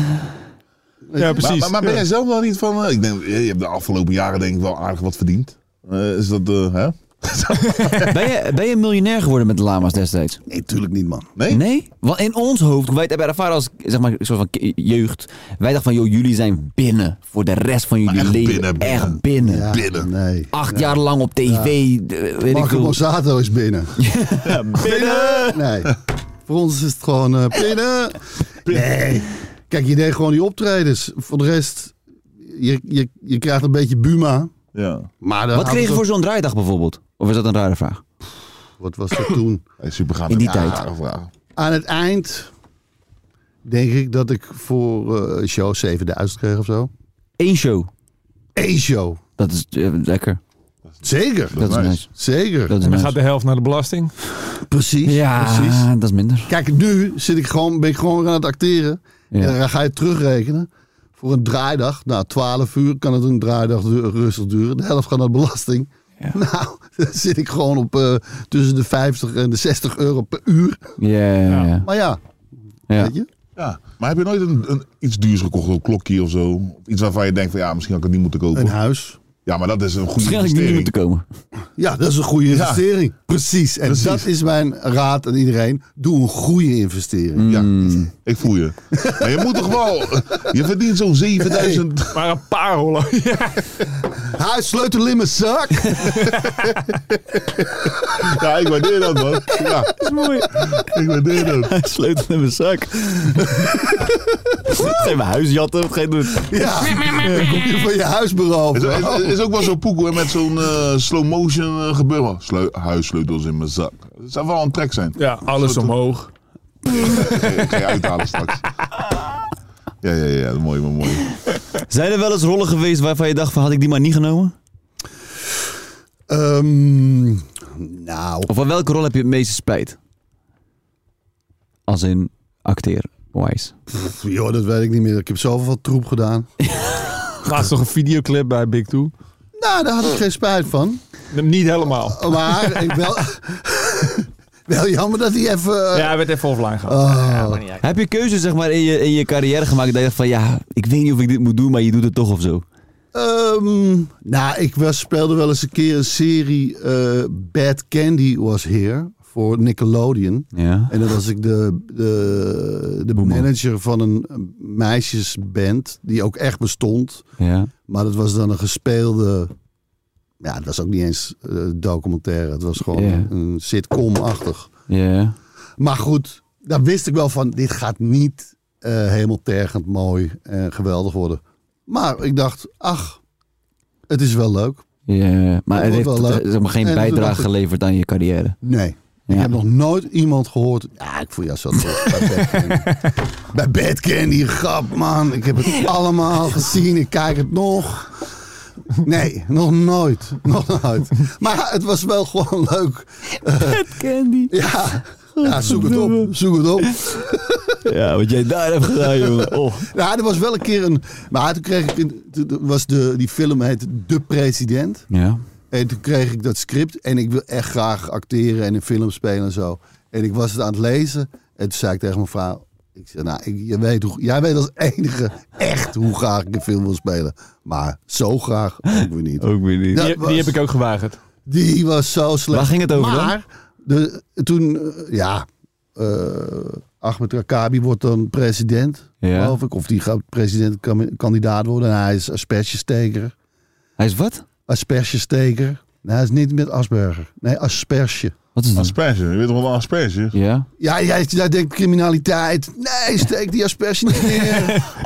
Speaker 4: Ja, precies.
Speaker 3: Maar, maar, maar ben
Speaker 4: Ja.
Speaker 3: jij zelf wel niet van... eh, ik denk, eh, je hebt de afgelopen jaren denk ik wel aardig wat verdiend. Eh, is dat... eh, hè?
Speaker 2: Ben je, ben je miljonair geworden met de lama's destijds?
Speaker 6: Nee, tuurlijk niet, man.
Speaker 3: Nee?
Speaker 2: Nee? Want in ons hoofd, wij het hebben ervaren als zeg maar, een soort van ki- jeugd. Wij dachten van, joh, jullie zijn binnen voor de rest van jullie
Speaker 3: echt
Speaker 2: leven.
Speaker 3: binnen, binnen.
Speaker 2: Echt binnen.
Speaker 6: Ja,
Speaker 3: Binnen.
Speaker 6: Nee.
Speaker 2: Acht jaar lang op tv. de- weet ik
Speaker 6: Marco
Speaker 2: veel.
Speaker 6: Borsato is binnen. binnen! Nee. Voor ons is het gewoon eh, binnen. Nee. Kijk, je deed gewoon die optredens. Voor de rest, je, je, je krijgt een beetje Buma.
Speaker 3: Ja.
Speaker 6: Maar dan
Speaker 2: Wat kreeg je
Speaker 6: hadden
Speaker 2: voor zo'n draaidag bijvoorbeeld? Of is dat een rare vraag?
Speaker 6: we- Wat was dat toen?
Speaker 3: Hij is super gaaf.
Speaker 2: In die
Speaker 3: Ja,
Speaker 2: tijd.
Speaker 3: rare vraag.
Speaker 6: Aan het eind denk ik dat ik voor eh, een show 7000 kreeg of zo.
Speaker 2: Eén show.
Speaker 6: Eén show.
Speaker 2: Dat is eh, lekker.
Speaker 6: Zeker.
Speaker 2: Dat is
Speaker 3: nice.
Speaker 2: nice.
Speaker 6: Zeker.
Speaker 2: Dat is
Speaker 4: Dan
Speaker 2: nice.
Speaker 4: gaat de helft naar de belasting.
Speaker 6: Precies.
Speaker 2: Ja,
Speaker 6: precies.
Speaker 2: dat is minder.
Speaker 6: Kijk, nu zit ik gewoon, ben ik gewoon weer aan het acteren. En
Speaker 2: Ja.
Speaker 6: dan ga je terugrekenen. Voor een draaidag, nou 12 uur kan het een draaidag du- rustig duren. De helft gaat naar belasting. Nou, dan zit ik gewoon op eh, tussen de 50 en de 60 euro per uur.
Speaker 2: Ja, ja, ja.
Speaker 6: Maar ja,
Speaker 2: ja.
Speaker 6: weet je.
Speaker 3: Ja. Maar heb je nooit een, een iets duurs gekocht? Een klokje of zo? Iets waarvan je denkt van ja, misschien had ik het niet moeten kopen.
Speaker 6: Een huis.
Speaker 3: Ja, maar dat is een goede
Speaker 2: Misschien had ik niet
Speaker 3: investering.
Speaker 2: moeten komen.
Speaker 6: Ja, dat is een goede investering. Precies. En
Speaker 3: Precies.
Speaker 6: dat is mijn raad aan iedereen. Doe een goede investering.
Speaker 3: Ja, ik voel je. Maar je moet toch wel... Je verdient zo'n 7000...
Speaker 4: Maar een paar horloges.
Speaker 6: Huis, sleutel in mijn zak.
Speaker 3: Ja, ik waardeer dat, man. Ja. Dat is mooi. Ik waardeer dat.
Speaker 2: Sleutel in mijn zak. Geen mijn huisjatten, wat ga je doen?
Speaker 6: Ja. Dan Eh, kom je van je huis beroven.
Speaker 3: Is, is, is ook wel zo'n poekoe hè, met zo'n eh, slow motion eh, gebeuren. Sleu huissleutels in mijn zak. Het zou wel een trek zijn.
Speaker 4: Ja, alles omhoog.
Speaker 3: Ik ga je uithalen straks. Ja, ja, ja. Mooi, mooi, mooi.
Speaker 2: Zijn er wel eens rollen geweest waarvan je dacht van had ik die maar niet genomen?
Speaker 6: Ehm, nou,
Speaker 2: Of van welke rol heb je het meeste spijt? Als in acteer-wise.
Speaker 6: pff, joh, dat weet ik niet meer. Ik heb zoveel troep gedaan.
Speaker 4: Laatst nog een videoclip bij Big Two.
Speaker 6: Nou, daar had ik geen spijt van.
Speaker 4: Niet
Speaker 6: Eh.
Speaker 4: helemaal.
Speaker 6: Maar ik wel... wel jammer dat hij even... eh,
Speaker 4: Ja, hij werd even offline gegaan.
Speaker 2: Heb je keuzes zeg maar in je, in je carrière gemaakt dat je dacht van ja, ik weet niet of ik dit moet doen, maar je doet het toch of zo?
Speaker 6: ehm, nou, ik was, speelde wel eens een keer een serie... eh, Bad Candy Was Here. voor Nickelodeon.
Speaker 2: Ja.
Speaker 6: En dan was ik de, de, de manager van een meisjesband die ook echt bestond.
Speaker 2: ja.
Speaker 6: Maar dat was dan een gespeelde... Ja, dat was ook niet eens eh, documentaire. Het was gewoon
Speaker 2: Ja.
Speaker 6: een sitcom-achtig.
Speaker 2: Ja.
Speaker 6: Maar goed, daar wist ik wel van, dit gaat niet eh, helemaal tergend mooi en geweldig worden. Maar ik dacht, ach, het is wel leuk.
Speaker 2: Ja. Maar het
Speaker 6: Dat wordt
Speaker 2: heeft
Speaker 6: wel
Speaker 2: eh,
Speaker 6: leuk.
Speaker 2: zeg maar, geen
Speaker 6: En toen dacht
Speaker 2: bijdrage
Speaker 6: ik-
Speaker 2: geleverd aan je carrière.
Speaker 6: Nee.
Speaker 2: Ja.
Speaker 6: Ik heb nog nooit iemand gehoord. Ja, ik voel jou zo terug bij Bad Candy. bij Bad Candy, grap man. Ik heb het allemaal gezien. Ik kijk het nog. Nee, nog nooit. Nog nooit. Maar het was wel gewoon leuk.
Speaker 2: Candy.
Speaker 6: Ja, ja zoek het op. Zoek het op.
Speaker 2: Ja, wat jij daar hebt gedaan, jongen. Oh.
Speaker 6: Nou, er was wel een keer een. Maar toen kreeg ik. een- toen was de, die film heet De President.
Speaker 2: Ja.
Speaker 6: En toen kreeg ik dat script. En ik wil echt graag acteren en in film spelen en zo. En ik was het aan het lezen. En toen zei ik tegen mijn vrouw. Ik zei, nou, ik, je weet hoe, jij weet als enige echt hoe graag ik een film wil spelen. Maar zo graag ook weer niet.
Speaker 4: Ook weer niet.
Speaker 6: Ja,
Speaker 4: die,
Speaker 6: was-
Speaker 4: die heb ik ook gewagerd.
Speaker 6: Die was zo slecht.
Speaker 2: Waar ging het over dan?
Speaker 6: maar De, toen, eh, ja, eh, Ahmed Rakabi wordt dan president,
Speaker 2: Ja.
Speaker 6: geloof ik. Of die gaat presidentkandidaat worden. En hij is aspergesteker.
Speaker 2: Hij is wat?
Speaker 6: Aspergesteker. Nee, hij is niet met Asperger. Nee, asperge.
Speaker 2: Wat is dat?
Speaker 3: Asperge, je weet toch wel een asperge?
Speaker 2: Ja.
Speaker 6: Ja, jij, jij denkt criminaliteit. Nee, steek die asperge niet neer.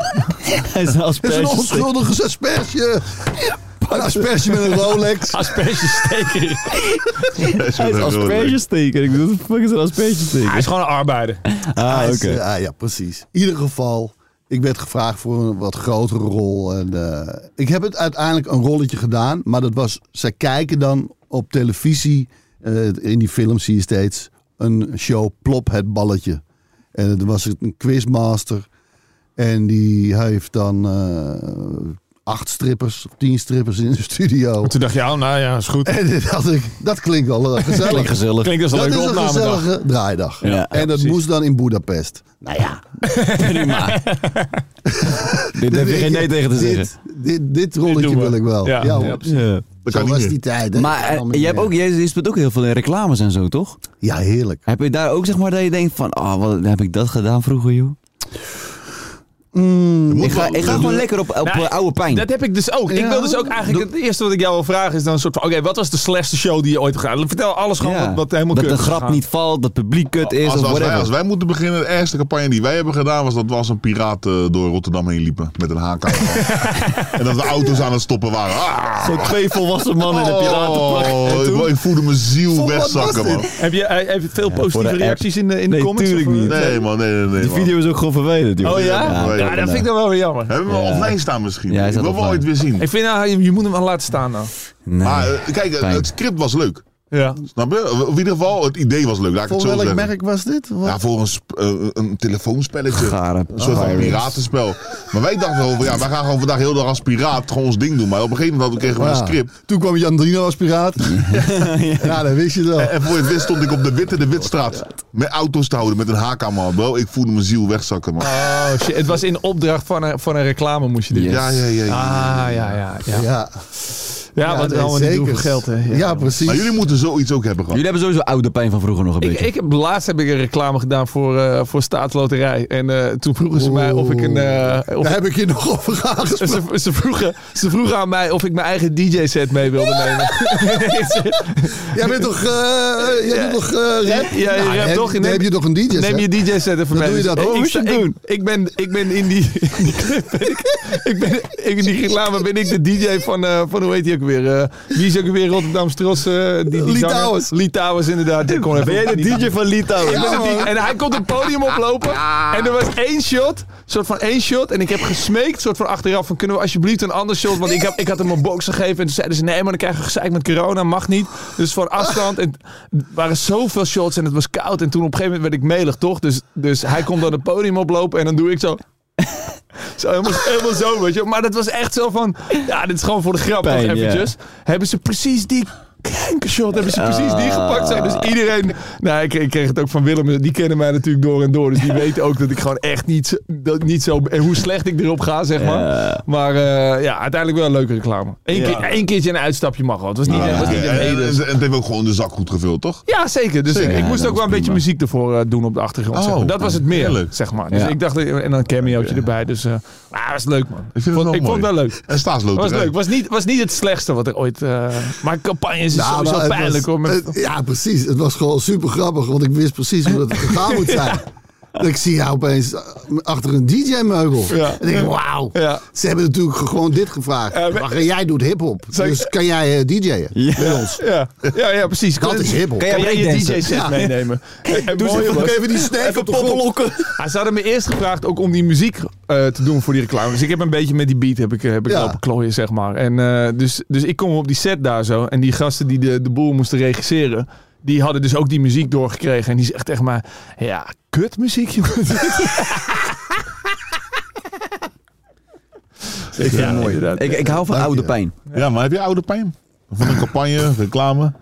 Speaker 2: Hij is een
Speaker 6: Het is een onschuldige asperge. Een asperge met een Rolex.
Speaker 4: Aspergesteker.
Speaker 3: Hij is
Speaker 2: aspergesteker. Ik bedoel, wat de fuck is een aspergesteker?
Speaker 4: Hij is gewoon een arbeider.
Speaker 2: Ah,
Speaker 6: Hij
Speaker 2: oké.
Speaker 6: is, eh, ah, ja, precies. In ieder geval, ik werd gevraagd voor een wat grotere rol. En, eh, ik heb het uiteindelijk een rolletje gedaan, maar dat was, zij kijken dan op televisie, eh, in die film zie je steeds, een show Plop het balletje. En dan was het een quizmaster en die heeft dan eh, acht strippers, of tien strippers in de studio.
Speaker 4: Toen dacht je, oh, nou ja, is goed.
Speaker 6: En dit dacht ik, dat klinkt wel eh, gezellig.
Speaker 2: Klinkt gezellig.
Speaker 4: Klinkt als een
Speaker 6: dat
Speaker 4: leuke
Speaker 6: is een
Speaker 4: opname.
Speaker 6: gezellige draaidag.
Speaker 2: Ja,
Speaker 6: en dat
Speaker 4: precies.
Speaker 6: moest dan in Boedapest. Nou ja,
Speaker 2: prima. Dit heb je geen nee tegen te zeggen.
Speaker 6: Dit, dit, dit rolletje
Speaker 4: Dit doen we.
Speaker 6: wil ik wel.
Speaker 4: Ja,
Speaker 6: Ja,
Speaker 4: ja,
Speaker 6: hoor.
Speaker 4: precies.
Speaker 3: Dat
Speaker 6: Zo
Speaker 3: kan
Speaker 6: was
Speaker 3: niet
Speaker 6: die
Speaker 3: meer.
Speaker 6: tijd. hè.
Speaker 2: Maar eh,
Speaker 6: Allemaal
Speaker 2: jij
Speaker 6: niet
Speaker 2: hebt
Speaker 6: meer.
Speaker 2: ook, jij speelt ook heel veel in reclames en zo, toch?
Speaker 6: Ja, heerlijk.
Speaker 2: Heb je daar ook zeg maar dat je denkt van, oh, wat heb ik dat gedaan vroeger, joh? Ik ga, ik ga gewoon lekker op, op
Speaker 4: Nou,
Speaker 2: eh, oude pijn.
Speaker 4: Dat heb ik dus ook. Ik
Speaker 6: Ja.
Speaker 4: wil dus ook eigenlijk... Het eerste wat ik jou wil vragen is dan een soort van... Oké, wat was de slechtste show die je ooit hebt gedaan? Vertel alles gewoon
Speaker 2: Ja.
Speaker 4: wat, wat helemaal
Speaker 2: dat
Speaker 4: kut
Speaker 2: de
Speaker 4: is
Speaker 2: grap
Speaker 4: gegaan.
Speaker 2: niet valt, dat het publiek kut is
Speaker 3: Als,
Speaker 2: of
Speaker 3: als, wij,
Speaker 2: whatever.
Speaker 3: als wij moeten beginnen, de eerste campagne die wij hebben gedaan was dat we als een piraat eh, door Rotterdam heen liepen met een haak aan. en dat de auto's aan het stoppen waren. Ah!
Speaker 2: Zo'n twee volwassen mannen in een piratenpak.
Speaker 3: Oh, ik, ik voelde mijn ziel wegzakken, man.
Speaker 4: Heb je, eh, heb je veel positieve
Speaker 2: voor de app.
Speaker 4: reacties in de, in de
Speaker 2: Nee,
Speaker 4: comments?
Speaker 2: tuurlijk
Speaker 4: of, eh?
Speaker 2: niet.
Speaker 3: Nee, man, nee, nee, nee.
Speaker 2: Die
Speaker 3: man.
Speaker 2: video is ook gewoon verwijderd, joh.
Speaker 4: Oh ja?
Speaker 3: Ja,
Speaker 4: Ja,
Speaker 3: ja,
Speaker 4: dat vind ik dan wel weer jammer.
Speaker 3: Hebben we hem
Speaker 2: Ja.
Speaker 3: offline staan misschien?
Speaker 2: Ja, hij
Speaker 3: ik
Speaker 2: staat
Speaker 3: wil wel ooit
Speaker 2: offline.
Speaker 3: weer zien.
Speaker 4: Ik vind, nou, je, je moet hem wel laten staan dan.
Speaker 2: Nee.
Speaker 3: Maar eh, kijk, eh,
Speaker 2: Fijn.
Speaker 3: het script was leuk.
Speaker 4: Ja.
Speaker 3: Snap je? Of in ieder geval, het idee was leuk. Laat ik het
Speaker 6: Voor
Speaker 3: zo
Speaker 6: welk
Speaker 3: zeggen.
Speaker 6: merk was dit? Wat?
Speaker 3: Ja, voor een, sp- eh, een telefoonspelletje.
Speaker 2: Gare
Speaker 3: Een soort van
Speaker 2: pirates.
Speaker 3: piratenspel. Maar wij dachten wel van, ja, wij gaan gewoon vandaag heel de dag als piraat gewoon ons ding doen. Maar op een gegeven moment hadden we kregen we
Speaker 6: Ja.
Speaker 3: een script.
Speaker 6: Toen kwam Jan Drino als piraat. ja, dat wist je wel.
Speaker 4: Eh,
Speaker 3: En voor je het wist stond ik op de Witte de Witstraat. Met auto's te houden, met een haak aan, man. Bro, ik voelde mijn ziel wegzakken, man.
Speaker 4: Oh shit, het was in opdracht van een, van een reclame moest je dit
Speaker 2: Yes.
Speaker 4: doen.
Speaker 3: Ja, ja, ja. ja.
Speaker 4: Ah, ja, ja, ja. Ja,
Speaker 6: Ja,
Speaker 4: wat we allemaal niet doen voor geld, hè.
Speaker 6: Ja, precies.
Speaker 3: Maar jullie moeten zoiets ook hebben gehad.
Speaker 2: Jullie hebben sowieso oude pijn van vroeger nog een
Speaker 4: Ik,
Speaker 2: beetje.
Speaker 4: ik heb, laatst heb ik een reclame gedaan voor, eh, voor Staatsloterij. En eh, toen vroegen ze mij of ik een... eh, of
Speaker 6: Daar heb ik je nog over aangesproken.
Speaker 4: ze, ze, vroegen, ze vroegen aan mij of ik mijn eigen DJ-set mee wilde nemen.
Speaker 6: Jij bent toch, eh jij bent toch eh rap?
Speaker 4: Ja, je
Speaker 6: Nou,
Speaker 4: rapt
Speaker 6: heb-
Speaker 4: toch?
Speaker 6: dan
Speaker 4: Neem-
Speaker 6: heb je toch een DJ set?
Speaker 4: Neem je DJ-set even mee.
Speaker 6: Dan
Speaker 4: Dus
Speaker 6: doe je dat.
Speaker 4: Ik-
Speaker 6: Oh,
Speaker 4: ik,
Speaker 6: moest je
Speaker 4: sta-
Speaker 6: doen.
Speaker 4: Ik, ik ben, ik ben in die... in die clip ben ik, ik ben, ik, in die reclame ben ik de DJ van, eh, van hoe heet die ook weer? eh, die is ook weer Rotterdams Trots. eh die, die
Speaker 6: Lee
Speaker 4: zanger.
Speaker 6: Towers.
Speaker 4: Lee Towers, inderdaad. Dit kon even niet aan.
Speaker 2: van Litouwen?
Speaker 4: Ik ben het niet. En hij komt het podium oplopen. En er was één shot. soort van één shot. En ik heb gesmeekt, soort van achteraf, van kunnen we alsjeblieft een ander shot. Want ik, heb, ik had hem een box gegeven. En toen zeiden ze, nee, maar dan krijgen we gezeik met corona. Mag niet. Dus voor afstand. En er waren zoveel shots en het was koud. En toen op een gegeven moment werd ik melig, toch? Dus, dus hij komt dan het podium oplopen. En dan doe ik zo... Zo, helemaal, helemaal zo, weet je. wel. Maar dat was echt zo van... Ja, dit is gewoon voor de grap,
Speaker 2: Pijn,
Speaker 4: nog
Speaker 2: ja.
Speaker 4: eventjes. Hebben ze precies die kankershot hebben ze precies die gepakt zijn. Dus iedereen... Nou, ik, ik kreeg het ook van Willem. Die kennen mij natuurlijk door en door. Dus die weten ook dat ik gewoon echt niet, zo- dat, niet zo... En hoe slecht ik erop ga, zeg maar. Maar eh, ja, uiteindelijk wel een leuke reclame. Eén
Speaker 7: Ja.
Speaker 4: keer, één keertje een uitstapje mag wel. Het was niet, het was niet de
Speaker 3: En,
Speaker 4: hele...
Speaker 3: en- en het heeft ook gewoon de zak goed gevuld, toch?
Speaker 4: Ja, zeker. Dus
Speaker 3: Zeker.
Speaker 4: ik moest ook wel een beetje muziek ervoor eh, doen op de achtergrond.
Speaker 3: Oh,
Speaker 4: zeg maar. Dat was het meer,
Speaker 3: heerlijk.
Speaker 4: zeg maar. Dus
Speaker 2: Ja.
Speaker 4: ik dacht, en dan een cameootje erbij. Dus eh ah, was leuk, man.
Speaker 3: Ik vind het
Speaker 4: vond,
Speaker 3: wel
Speaker 4: ik
Speaker 3: mooi.
Speaker 4: vond het wel leuk.
Speaker 3: En staatsloterij.
Speaker 4: Was leuk. Was niet, was niet het slechtste wat er ooit... eh, maar campagnes is
Speaker 6: Nou, maar
Speaker 4: sowieso
Speaker 6: het was-
Speaker 4: pijnlijk, hoor. Met,
Speaker 6: het- ja, precies. Het was gewoon super grappig, want ik wist precies hoe dat gegaan moet zijn. Dat Ik zie jou opeens eh, achter een DJ-meugel.
Speaker 4: Ja.
Speaker 6: En ik denk, wauw.
Speaker 4: Ja.
Speaker 6: Ze hebben natuurlijk gewoon dit gevraagd.
Speaker 4: Eh, we-
Speaker 6: Wacht, en jij doet hip-hop.
Speaker 4: Zou ik-
Speaker 6: Dus kan jij eh, DJ'en?
Speaker 4: ja. Ja, ja, precies.
Speaker 6: Dat is hip-hop.
Speaker 4: Kan jij je
Speaker 2: breakdansen?
Speaker 4: DJ-set meenemen? En- en mooi was-
Speaker 6: die snap op de grond.
Speaker 4: Ah, ze hadden me eerst gevraagd ook om die muziek eh, te doen voor die reclame. Dus ik heb een beetje met die beat heb ik, eh, heb ik
Speaker 6: Ja.
Speaker 4: lopen klooien, zeg maar. En, eh, dus, dus ik kom op die set daar zo. En die gasten die de, de boel moesten regisseren, die hadden dus ook die muziek doorgekregen. En die zegt echt maar, ja, kut muziek, jongen.
Speaker 2: Ik vind het mooi.
Speaker 4: inderdaad.
Speaker 2: Ik, ik hou van oude pijn.
Speaker 3: Ja, maar heb je oude pijn? Van een campagne, reclame?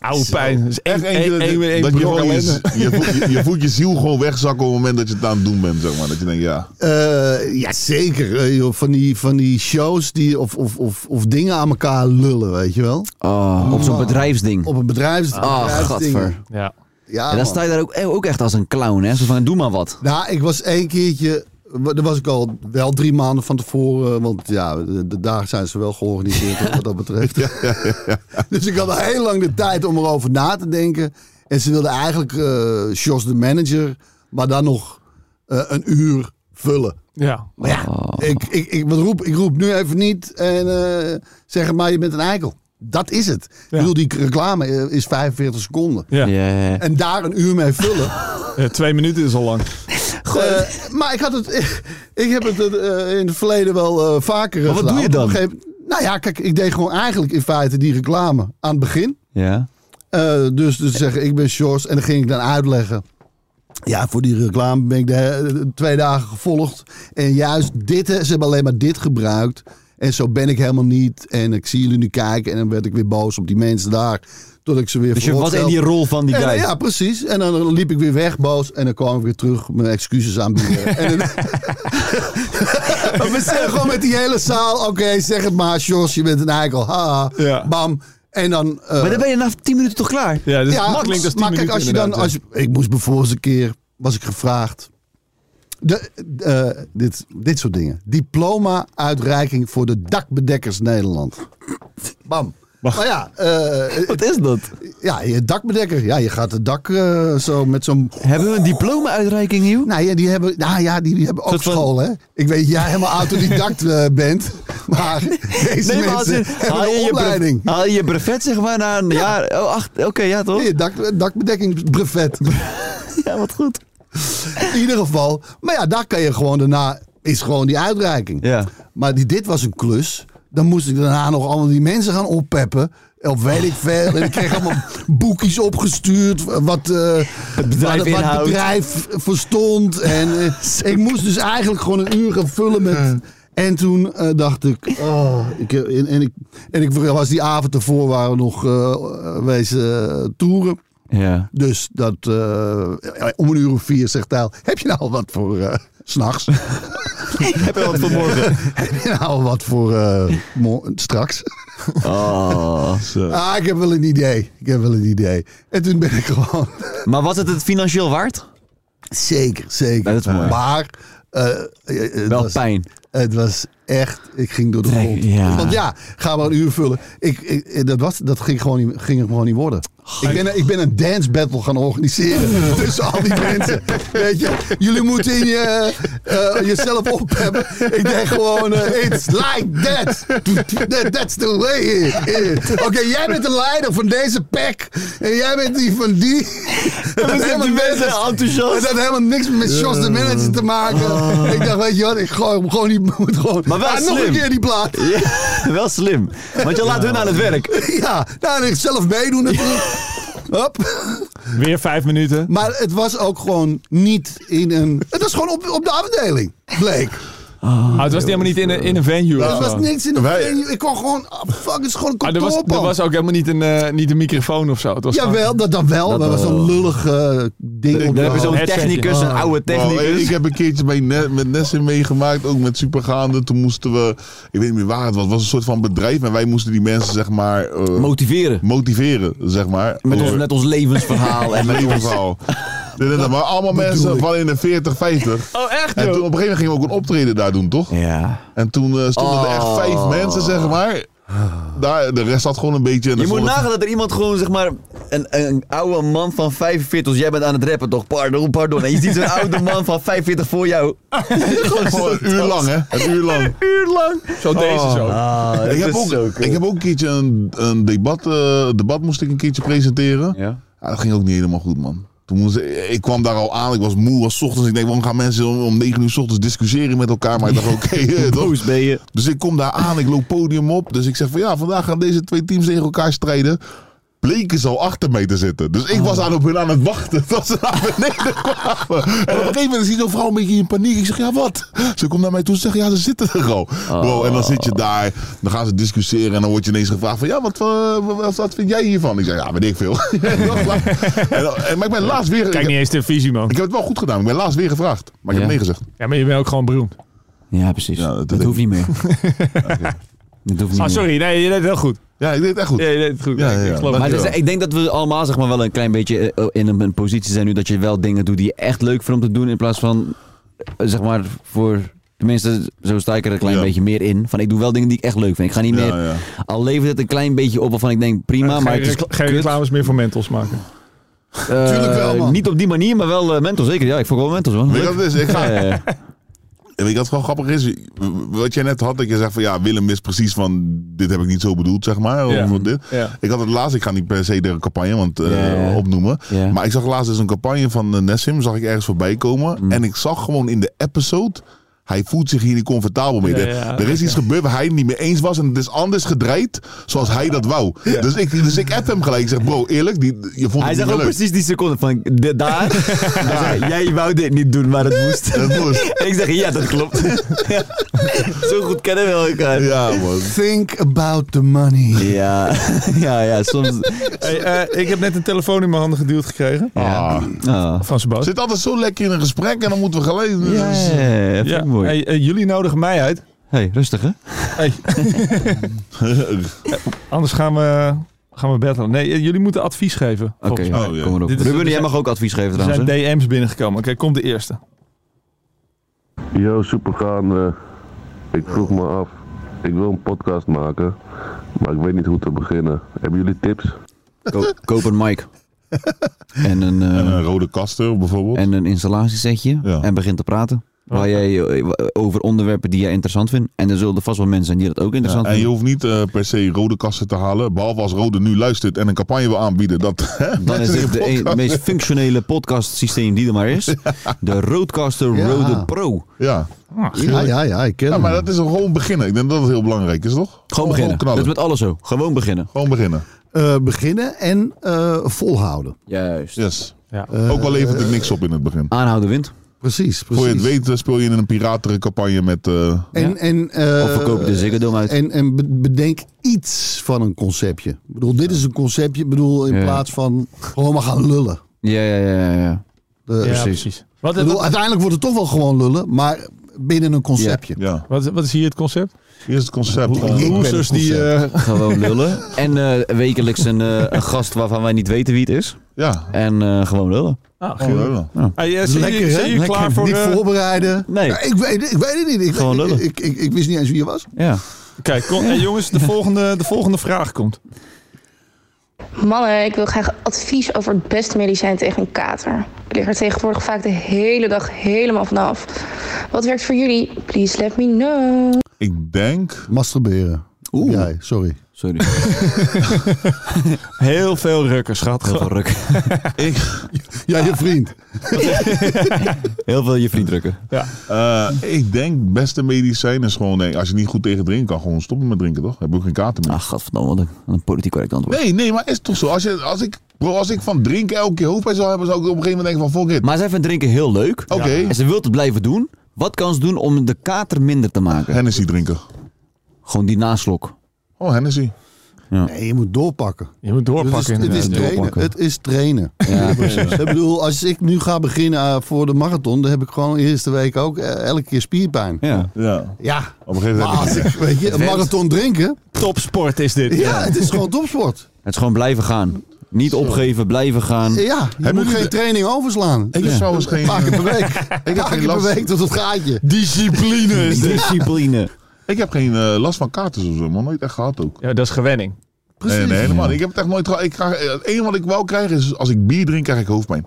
Speaker 4: Oude pijn. Dat is echt
Speaker 3: Echt eentje
Speaker 4: één
Speaker 3: dat,
Speaker 4: één- één
Speaker 3: dat je,
Speaker 4: brok
Speaker 3: gewoon je,
Speaker 4: ellende.
Speaker 3: je, voelt, je, je voelt je ziel gewoon wegzakken op het moment dat je het aan het doen bent, zeg maar. Dat je denkt, ja.
Speaker 6: Eh, ja, zeker. Eh, joh, van, die, van die shows die, of, of, of, of dingen aan elkaar lullen, weet je wel.
Speaker 2: Oh, op zo'n bedrijfsding.
Speaker 6: Op een bedrijfs
Speaker 2: Ah,
Speaker 6: bedrijfsding.
Speaker 2: gadver.
Speaker 4: Ja.
Speaker 6: Ja,
Speaker 2: En dan
Speaker 6: man.
Speaker 2: sta je daar ook, ook echt als een clown, hè? Zo van, doe maar wat.
Speaker 6: Nou, ik was één keertje. Daar was ik al wel drie maanden van tevoren. Want ja, de, de dagen zijn ze wel georganiseerd hoor, wat dat betreft. Dus ik had al heel lang de tijd om erover na te denken. En ze wilden eigenlijk eh Jos de manager, maar dan nog eh, een uur vullen.
Speaker 4: Ja.
Speaker 6: Maar ja,
Speaker 2: Oh.
Speaker 6: ik, ik, ik, wat roep, ik roep nu even niet en eh zeg maar je bent een eikel. Dat is het. Ik bedoel, die reclame eh, is 45 seconden.
Speaker 4: Ja.
Speaker 2: Ja.
Speaker 6: En daar een uur mee vullen.
Speaker 4: Ja, twee minuten is al lang.
Speaker 6: Eh, maar ik had het. Ik heb het eh, in het verleden wel eh, vaker. Maar
Speaker 2: wat doe je dan?
Speaker 6: nou ja, kijk, ik deed gewoon eigenlijk in feite die reclame aan het begin.
Speaker 2: Ja.
Speaker 6: Eh, dus, dus zeggen, ik ben Sjors. En dan ging ik dan uitleggen. Ja, voor die reclame ben ik de, he- twee dagen gevolgd. En juist dit, hè, ze hebben alleen maar dit gebruikt. En zo ben ik helemaal niet. En ik zie jullie nu kijken. En dan werd ik weer boos op die mensen daar. Tot ik ze weer
Speaker 2: Dus je was in
Speaker 6: veroordeelde.
Speaker 2: die rol van die
Speaker 6: En,
Speaker 2: guy.
Speaker 6: ja, precies. En dan liep ik weer weg, boos. En dan kwam ik weer terug mijn excuses aanbieden. en, dan, en gewoon met die hele zaal. Oké, zeg het maar, Jos, je bent een eikel. Haha.
Speaker 4: Ja.
Speaker 6: Bam. En dan... eh,
Speaker 2: Maar dan ben je na 10 minuten toch klaar?
Speaker 4: Ja, dus
Speaker 6: ja,
Speaker 4: het klinkt als tien
Speaker 6: maar kijk,
Speaker 4: minuten
Speaker 6: als je dan...
Speaker 4: inderdaad,
Speaker 6: Als je, ik moest bijvoorbeeld eens een keer... Was ik gevraagd... De, eh, dit, dit soort dingen. Diploma-uitreiking voor de dakbedekkers Nederland. Bam. Maar ja, eh,
Speaker 2: Wat is dat?
Speaker 6: ja, je dakbedekker. Ja, je gaat het dak eh, zo met zo'n
Speaker 2: Hebben we een diploma-uitreiking, Hiel?
Speaker 6: nou ja, die hebben, nou ja, die, die hebben ook
Speaker 2: Soort van-
Speaker 6: school, hè? Ik weet dat jij helemaal autodidact eh, bent, maar deze mensen hebben
Speaker 2: haal je
Speaker 6: een
Speaker 2: je
Speaker 6: opleiding.
Speaker 2: brev- haal je je brevet, zeg maar, na een jaar... Oh, acht, oké, ja, toch?
Speaker 6: Nee, dak, dakbedekkingsbrevet.
Speaker 2: Ja, wat goed.
Speaker 6: In ieder geval. Maar ja, daar kan je gewoon daarna, is gewoon die uitreiking.
Speaker 2: Ja.
Speaker 6: Maar die, dit was een klus. Dan moest ik daarna nog allemaal die mensen gaan oppeppen. Of weet ik veel. En ik kreeg allemaal boekjes opgestuurd. Wat, eh,
Speaker 2: bedrijf
Speaker 6: wat, wat het
Speaker 2: inhoudt.
Speaker 6: bedrijf verstond. En eh, ik moest dus eigenlijk gewoon een uur gaan vullen met... En toen eh, dacht ik, oh, ik, heb- en, en, ik, en ik was die avond ervoor waren we nog eh wezen eh, toeren.
Speaker 2: Ja.
Speaker 6: Dus dat, eh, om een uur of vier zegt Tijl, heb je nou al wat voor eh, s s'nachts?
Speaker 2: Heb je wat vanmorgen?
Speaker 6: heb je nou al wat voor eh, mo- straks?
Speaker 2: Oh.
Speaker 6: Ah, ik heb wel een idee. Ik heb wel een idee. En toen ben ik gewoon...
Speaker 2: Maar was het het financieel waard?
Speaker 6: zeker, zeker.
Speaker 2: Dat is mooi.
Speaker 6: Maar... eh, eh, het
Speaker 2: Wel
Speaker 6: was-
Speaker 2: pijn.
Speaker 6: Het was echt... Ik ging door de
Speaker 2: Nee,
Speaker 6: grond.
Speaker 2: ja.
Speaker 6: Want ja, ga maar een uur vullen. Ik, ik- dat was, dat ging, gewoon niet, ging gewoon niet worden. Ik ben, ik ben een dance battle gaan organiseren tussen al die mensen. Weet je, jullie moeten in je, eh, jezelf opheffen. Ik denk gewoon, eh, it's like that. That- That's the way it is. Oké, jij bent de leider van deze pack. En jij bent die van die. Dat heeft helemaal niks-
Speaker 2: enthousiast.
Speaker 6: dat had helemaal niks met Jos de manager te maken. Ik dacht, weet je wat, ik gooi hem gewoon niet. Moet gewoon,
Speaker 2: Maar wel
Speaker 6: Ah, nog een
Speaker 2: slim.
Speaker 6: keer die plaat.
Speaker 2: Ja, wel slim. Want je laat hun aan het werk.
Speaker 6: Ja, nou, en ik zelf meedoen natuurlijk. Hop.
Speaker 4: Weer vijf minuten.
Speaker 6: Maar het was ook gewoon niet in een... Het was gewoon op, op de afdeling, bleek.
Speaker 4: Ah, het was helemaal niet in een, in een venue. of
Speaker 6: Er
Speaker 4: zo.
Speaker 6: was niks in de
Speaker 3: Wij-
Speaker 6: venue. Ik kon gewoon... ah, fuck, het is gewoon een
Speaker 4: Ah, er, was, er
Speaker 6: kantoorpand.
Speaker 4: was ook helemaal niet een, eh, niet een microfoon of zo. Het was gewoon-
Speaker 6: Jawel, dat dan wel. maar dat was zo'n lullig eh, ding op
Speaker 2: Dan
Speaker 6: de
Speaker 2: hebben
Speaker 4: een
Speaker 2: zo'n
Speaker 4: headsetje.
Speaker 2: technicus,
Speaker 4: Oh.
Speaker 2: een oude
Speaker 3: Nou,
Speaker 2: technicus.
Speaker 3: ik, ik heb een keertje bij Ne- met Nessie meegemaakt, ook met Supergaande. Toen moesten we, ik weet niet meer waar het was, het was een soort van bedrijf. En wij moesten die mensen, zeg maar, eh,
Speaker 2: Motiveren.
Speaker 3: motiveren, zeg maar.
Speaker 2: Met
Speaker 3: over-
Speaker 2: ons, met ons levensverhaal. en
Speaker 3: en
Speaker 2: met ons-
Speaker 3: levensverhaal. Dit en dat, maar allemaal mensen van in de 40, 50.
Speaker 4: Oh, echt
Speaker 3: En toen op een gegeven
Speaker 4: joh?
Speaker 3: moment gingen we ook een optreden daar doen, toch?
Speaker 2: Ja. Oh.
Speaker 3: En toen eh, stonden er echt vijf mensen, zeg maar. Daar, de rest had gewoon een beetje... en
Speaker 2: Je
Speaker 3: er
Speaker 2: moet
Speaker 3: stonden-
Speaker 2: nagaan dat er iemand gewoon, zeg maar, een, een oude man van 45, als jij bent aan het rappen toch, pardon, pardon. En je ziet zo'n oude man van 45 voor jou.
Speaker 3: Gewoon een uur lang, hè? Een uur lang.
Speaker 4: Uur lang. Zo deze
Speaker 2: Ah,
Speaker 4: zo.
Speaker 3: ik, heb ook, ik heb ook een keertje een, een debat, eh, debat moest ik een keertje presenteren.
Speaker 2: Ja.
Speaker 3: Ja, dat ging ook niet helemaal goed, man. Toen moest, ik ik kwam daar al aan, ik was moe, was 's ochtends. Ik denk, waarom gaan mensen om, om 9 uur 's ochtends discussiëren met elkaar? Maar ik dacht, oké, eh, toch?
Speaker 2: Boos ben je.
Speaker 3: Dus ik kom daar aan, ik loop podium op. Dus ik zeg van ja, vandaag gaan deze twee teams tegen elkaar strijden. Bleken ze al achter mij te zitten. Dus ik was aan op hun aan het wachten tot ze naar beneden kwamen. En op een gegeven moment zie zo'n vrouw een beetje in paniek. Ik zeg, ja wat? Ze komt naar mij toe en zegt, ja ze zitten er al. Bro, en dan zit je daar, dan gaan ze discussiëren en dan word je ineens gevraagd van ja, wat, eh, wat, wat vind jij hiervan? Ik zeg, ja weet ik veel. en, dan- en, maar ik ben laatst weer, ik,
Speaker 4: Kijk niet
Speaker 3: heb-
Speaker 4: eens televisie, man.
Speaker 3: ik heb het wel goed gedaan. Ik ben laatst weer gevraagd. Maar ik
Speaker 2: Ja.
Speaker 3: heb nee gezegd.
Speaker 4: Ja, maar je bent ook gewoon beroemd.
Speaker 2: Ja, precies.
Speaker 3: Ja, dat
Speaker 2: dat
Speaker 3: denk ik.
Speaker 2: hoeft niet meer. Dat hoeft niet
Speaker 4: Ah,
Speaker 2: meer.
Speaker 4: sorry. Nee, je deed het heel goed.
Speaker 3: Ja, ik deed het echt goed.
Speaker 4: Ja, je deed het goed.
Speaker 3: Ja, ja, ja.
Speaker 4: Ik geloof
Speaker 3: Maar
Speaker 4: het.
Speaker 2: Maar
Speaker 3: Dankjewel.
Speaker 2: dus, ik denk dat we allemaal zeg maar, wel een klein beetje eh, in een, een positie zijn nu dat je wel dingen doet die je echt leuk vindt om te doen. In plaats van, eh, zeg maar, voor. Tenminste, zo sta ik er een klein
Speaker 3: Ja.
Speaker 2: beetje meer in. Van ik doe wel dingen die ik echt leuk vind. Ik ga niet
Speaker 3: Ja,
Speaker 2: meer.
Speaker 3: ja.
Speaker 2: Al levert het een klein beetje op waarvan ik denk prima, maar
Speaker 4: geen,
Speaker 2: het is
Speaker 4: recla- geen
Speaker 2: kut.
Speaker 4: reclames meer voor mentals maken.
Speaker 2: Eh,
Speaker 6: Tuurlijk wel, man.
Speaker 2: Niet op die manier, maar wel eh, mental zeker. Ja, ik vond wel mental Eh, man.
Speaker 3: Weet je wat het is? Ik ga,
Speaker 2: Ja, ja, ja.
Speaker 3: En weet je wat gewoon grappig is? Wat jij net had, dat je zegt van ja, Willem is precies van dit heb ik niet zo bedoeld, zeg maar.
Speaker 4: Ja.
Speaker 3: Of dit.
Speaker 4: Ja.
Speaker 3: Ik had het laatst, ik ga niet per se de campagne want, eh,
Speaker 2: Ja.
Speaker 3: opnoemen.
Speaker 2: Ja.
Speaker 3: Maar ik zag laatst dus een campagne van eh, Nessim, zag ik ergens voorbij komen.
Speaker 2: Mm.
Speaker 3: En ik zag gewoon in de episode, hij voelt zich hier niet comfortabel mee.
Speaker 4: Ja,
Speaker 3: Er-
Speaker 4: ja,
Speaker 3: er is iets gebeurd waar hij het niet mee eens was en het is anders gedraaid zoals hij dat wou. Dus, ik, dus ik app hem gelijk. Ik zeg bro, eerlijk, die, je vond
Speaker 2: Hij
Speaker 3: het niet
Speaker 2: zegt
Speaker 3: meer
Speaker 2: ook
Speaker 3: leuk.
Speaker 2: precies die seconde van de, daar. Hij zei, jij wou dit niet doen, maar het moest.
Speaker 3: Dat moest.
Speaker 2: En ik zeg ja, dat klopt. Ja. Zo goed kennen we elkaar.
Speaker 3: Ja man.
Speaker 6: Think about the money.
Speaker 2: Ja, ja, ja, soms.
Speaker 4: Hey, eh, ik heb net een telefoon in mijn handen geduwd gekregen.
Speaker 3: Ah.
Speaker 2: Oh.
Speaker 4: Van Sebas.
Speaker 3: Zit altijd zo lekker in een gesprek en dan moeten we gelijk...
Speaker 2: Ja, ja, ja, ja, vind
Speaker 4: Ja.
Speaker 2: ik mooi. Hey.
Speaker 4: Hey, eh, jullie nodigen mij uit.
Speaker 2: rustig hè?
Speaker 4: Hey. Anders gaan we, gaan we battlen. Nee, eh, jullie moeten advies geven.
Speaker 2: Oké,
Speaker 4: volgens mij.
Speaker 3: Oh, ja.
Speaker 2: kom erop.
Speaker 4: Dit is-
Speaker 2: Ruben,
Speaker 4: dit
Speaker 2: jij
Speaker 4: zijn-
Speaker 2: mag ook advies geven
Speaker 4: Er
Speaker 2: trouwens.
Speaker 4: zijn
Speaker 2: hè?
Speaker 4: DM's binnengekomen. Oké, komt de eerste.
Speaker 7: Yo, supergaande. Ik vroeg me af. Ik wil een podcast maken, maar ik weet niet hoe te beginnen. Hebben jullie tips?
Speaker 2: Ko- koop een mic. En een, eh,
Speaker 3: En een rode kasten bijvoorbeeld.
Speaker 2: en een installatiesetje.
Speaker 3: Ja.
Speaker 2: En begin te praten. Waar jij, eh, over onderwerpen die jij interessant vindt. En er zullen vast wel mensen zijn die dat ook interessant
Speaker 3: En je
Speaker 2: vinden.
Speaker 3: hoeft niet eh, per se rode kassen te halen. Behalve als Rode nu luistert en een campagne wil aanbieden. Dat, hè,
Speaker 2: Dan is
Speaker 3: mensen
Speaker 2: dit
Speaker 3: die
Speaker 2: de een-
Speaker 3: podcast-
Speaker 2: meest functionele podcast systeem die er maar is. De Roadcaster
Speaker 6: Ja.
Speaker 2: Rode Pro.
Speaker 3: Ja.
Speaker 6: Ja, ja, ja, ik ken
Speaker 3: ja,
Speaker 6: hem.
Speaker 3: maar dat is gewoon beginnen. Ik denk dat het heel belangrijk is, toch?
Speaker 2: Gewoon beginnen.
Speaker 3: Gewoon
Speaker 2: Dat is
Speaker 3: knallen.
Speaker 2: met alles zo. Gewoon beginnen.
Speaker 3: Gewoon beginnen.
Speaker 6: Eh, beginnen en eh, volhouden.
Speaker 2: Juist.
Speaker 3: Yes.
Speaker 4: Ja.
Speaker 3: Ook al levert
Speaker 4: eh,
Speaker 3: het niks op in het begin.
Speaker 2: Aanhouden wind.
Speaker 6: Precies, precies.
Speaker 3: Voor je het weet eh, speel je in een piratencampagne met... eh,
Speaker 6: En, en, eh,
Speaker 2: Of verkoop de ziggerdom uit.
Speaker 6: En, en be- bedenk iets van een conceptje. Ik bedoel, dit is een conceptje. Ik bedoel, in
Speaker 2: Ja.
Speaker 6: plaats van gewoon maar gaan lullen.
Speaker 2: Ja, ja, ja, ja, ja.
Speaker 6: De- ik
Speaker 4: Ja,
Speaker 6: bedoel,
Speaker 4: precies. Wat, wat,
Speaker 6: uiteindelijk wordt het toch wel gewoon lullen, maar binnen een conceptje.
Speaker 3: ja.
Speaker 4: wat, wat is hier het concept?
Speaker 3: Hier is het concept.
Speaker 6: Ik ben het
Speaker 4: Losers die...
Speaker 6: concept.
Speaker 4: eh,
Speaker 2: Gewoon lullen. En eh, wekelijks een, eh, een gast waarvan wij niet weten wie het is.
Speaker 3: Ja.
Speaker 2: En eh, gewoon lullen.
Speaker 4: ah,
Speaker 3: Gewoon
Speaker 4: Giel.
Speaker 3: lullen.
Speaker 4: Hey, eh, zijn
Speaker 6: Lekker,
Speaker 4: jullie,
Speaker 6: hè?
Speaker 4: zijn jullie klaar voor...
Speaker 6: Niet
Speaker 4: eh,
Speaker 6: voorbereiden.
Speaker 2: Nee.
Speaker 6: Ja, ik, weet, ik weet het niet. Ik,
Speaker 2: Gewoon
Speaker 6: ik,
Speaker 2: lullen.
Speaker 6: ik, ik, ik wist niet eens wie je was.
Speaker 2: Ja.
Speaker 4: Kijk, kom, hey, jongens, de volgende, de volgende vraag komt.
Speaker 8: Mannen, ik wil graag advies over het beste medicijn tegen een kater. Ik lig er tegenwoordig vaak de hele dag helemaal vanaf. Wat werkt voor jullie? Please let me know.
Speaker 3: Ik denk...
Speaker 6: Masturberen. Oeh. Jij, sorry.
Speaker 2: Sorry.
Speaker 4: Heel veel rukkers, schat.
Speaker 2: Heel veel ruk.
Speaker 6: Ja, je vriend.
Speaker 2: Heel veel je vriend drukken.
Speaker 3: eh, ik denk beste medicijn is gewoon... Nee, als je niet goed tegen drinken kan, gewoon stoppen met drinken, toch? Heb je ook geen kater meer.
Speaker 2: Ah, godverdamme, wat een, wat een politiek correct antwoord.
Speaker 3: Nee, nee, maar is toch zo. Als, je, als, ik, bro, als ik van drinken elke keer hoofdpijn zou hebben, zou ik op een gegeven moment denken van fuck it.
Speaker 2: Maar zij vindt drinken heel leuk.
Speaker 3: Oké.
Speaker 2: En ze wil het blijven doen. Wat kan ze doen om de kater minder te maken?
Speaker 3: Hennessy drinken.
Speaker 2: Gewoon die naslok.
Speaker 3: Oh, Hennessy.
Speaker 6: Nee, je moet doorpakken.
Speaker 4: Je moet doorpakken.
Speaker 6: het, is, het is
Speaker 4: inderdaad.
Speaker 6: trainen.
Speaker 2: doorpakken.
Speaker 6: Het is trainen.
Speaker 2: Ja, precies.
Speaker 6: Ik bedoel, als ik nu ga beginnen eh, voor de marathon, dan heb ik gewoon de eerste week ook eh, elke keer spierpijn.
Speaker 2: Ja.
Speaker 3: Ja.
Speaker 6: Ja,
Speaker 3: Op een gegeven
Speaker 6: maar
Speaker 3: moment.
Speaker 6: als ik, weet je, een marathon drinken,
Speaker 9: Topsport is dit.
Speaker 6: ja, het is gewoon topsport.
Speaker 2: Het is gewoon blijven gaan. Niet opgeven, blijven gaan.
Speaker 6: Ja, je moet
Speaker 3: jullie
Speaker 6: geen
Speaker 3: de-
Speaker 6: training overslaan.
Speaker 3: Ik heb trouwens geen. eh,
Speaker 6: Paar keer per week.
Speaker 3: Ik heb
Speaker 6: Paar
Speaker 3: geen
Speaker 6: keer per
Speaker 3: last.
Speaker 6: week tot het gaatje.
Speaker 9: Discipline is dit.
Speaker 2: Discipline. Nou,
Speaker 3: Ik heb geen eh, last van kaartjes of zo, man. Nooit echt gehad ook.
Speaker 4: Ja, dat is gewenning.
Speaker 3: Nee, nee, helemaal niet. Ik heb het echt nooit gehad. Ik krijg- Het enige wat ik wel krijg is als ik bier drink, krijg ik hoofdpijn.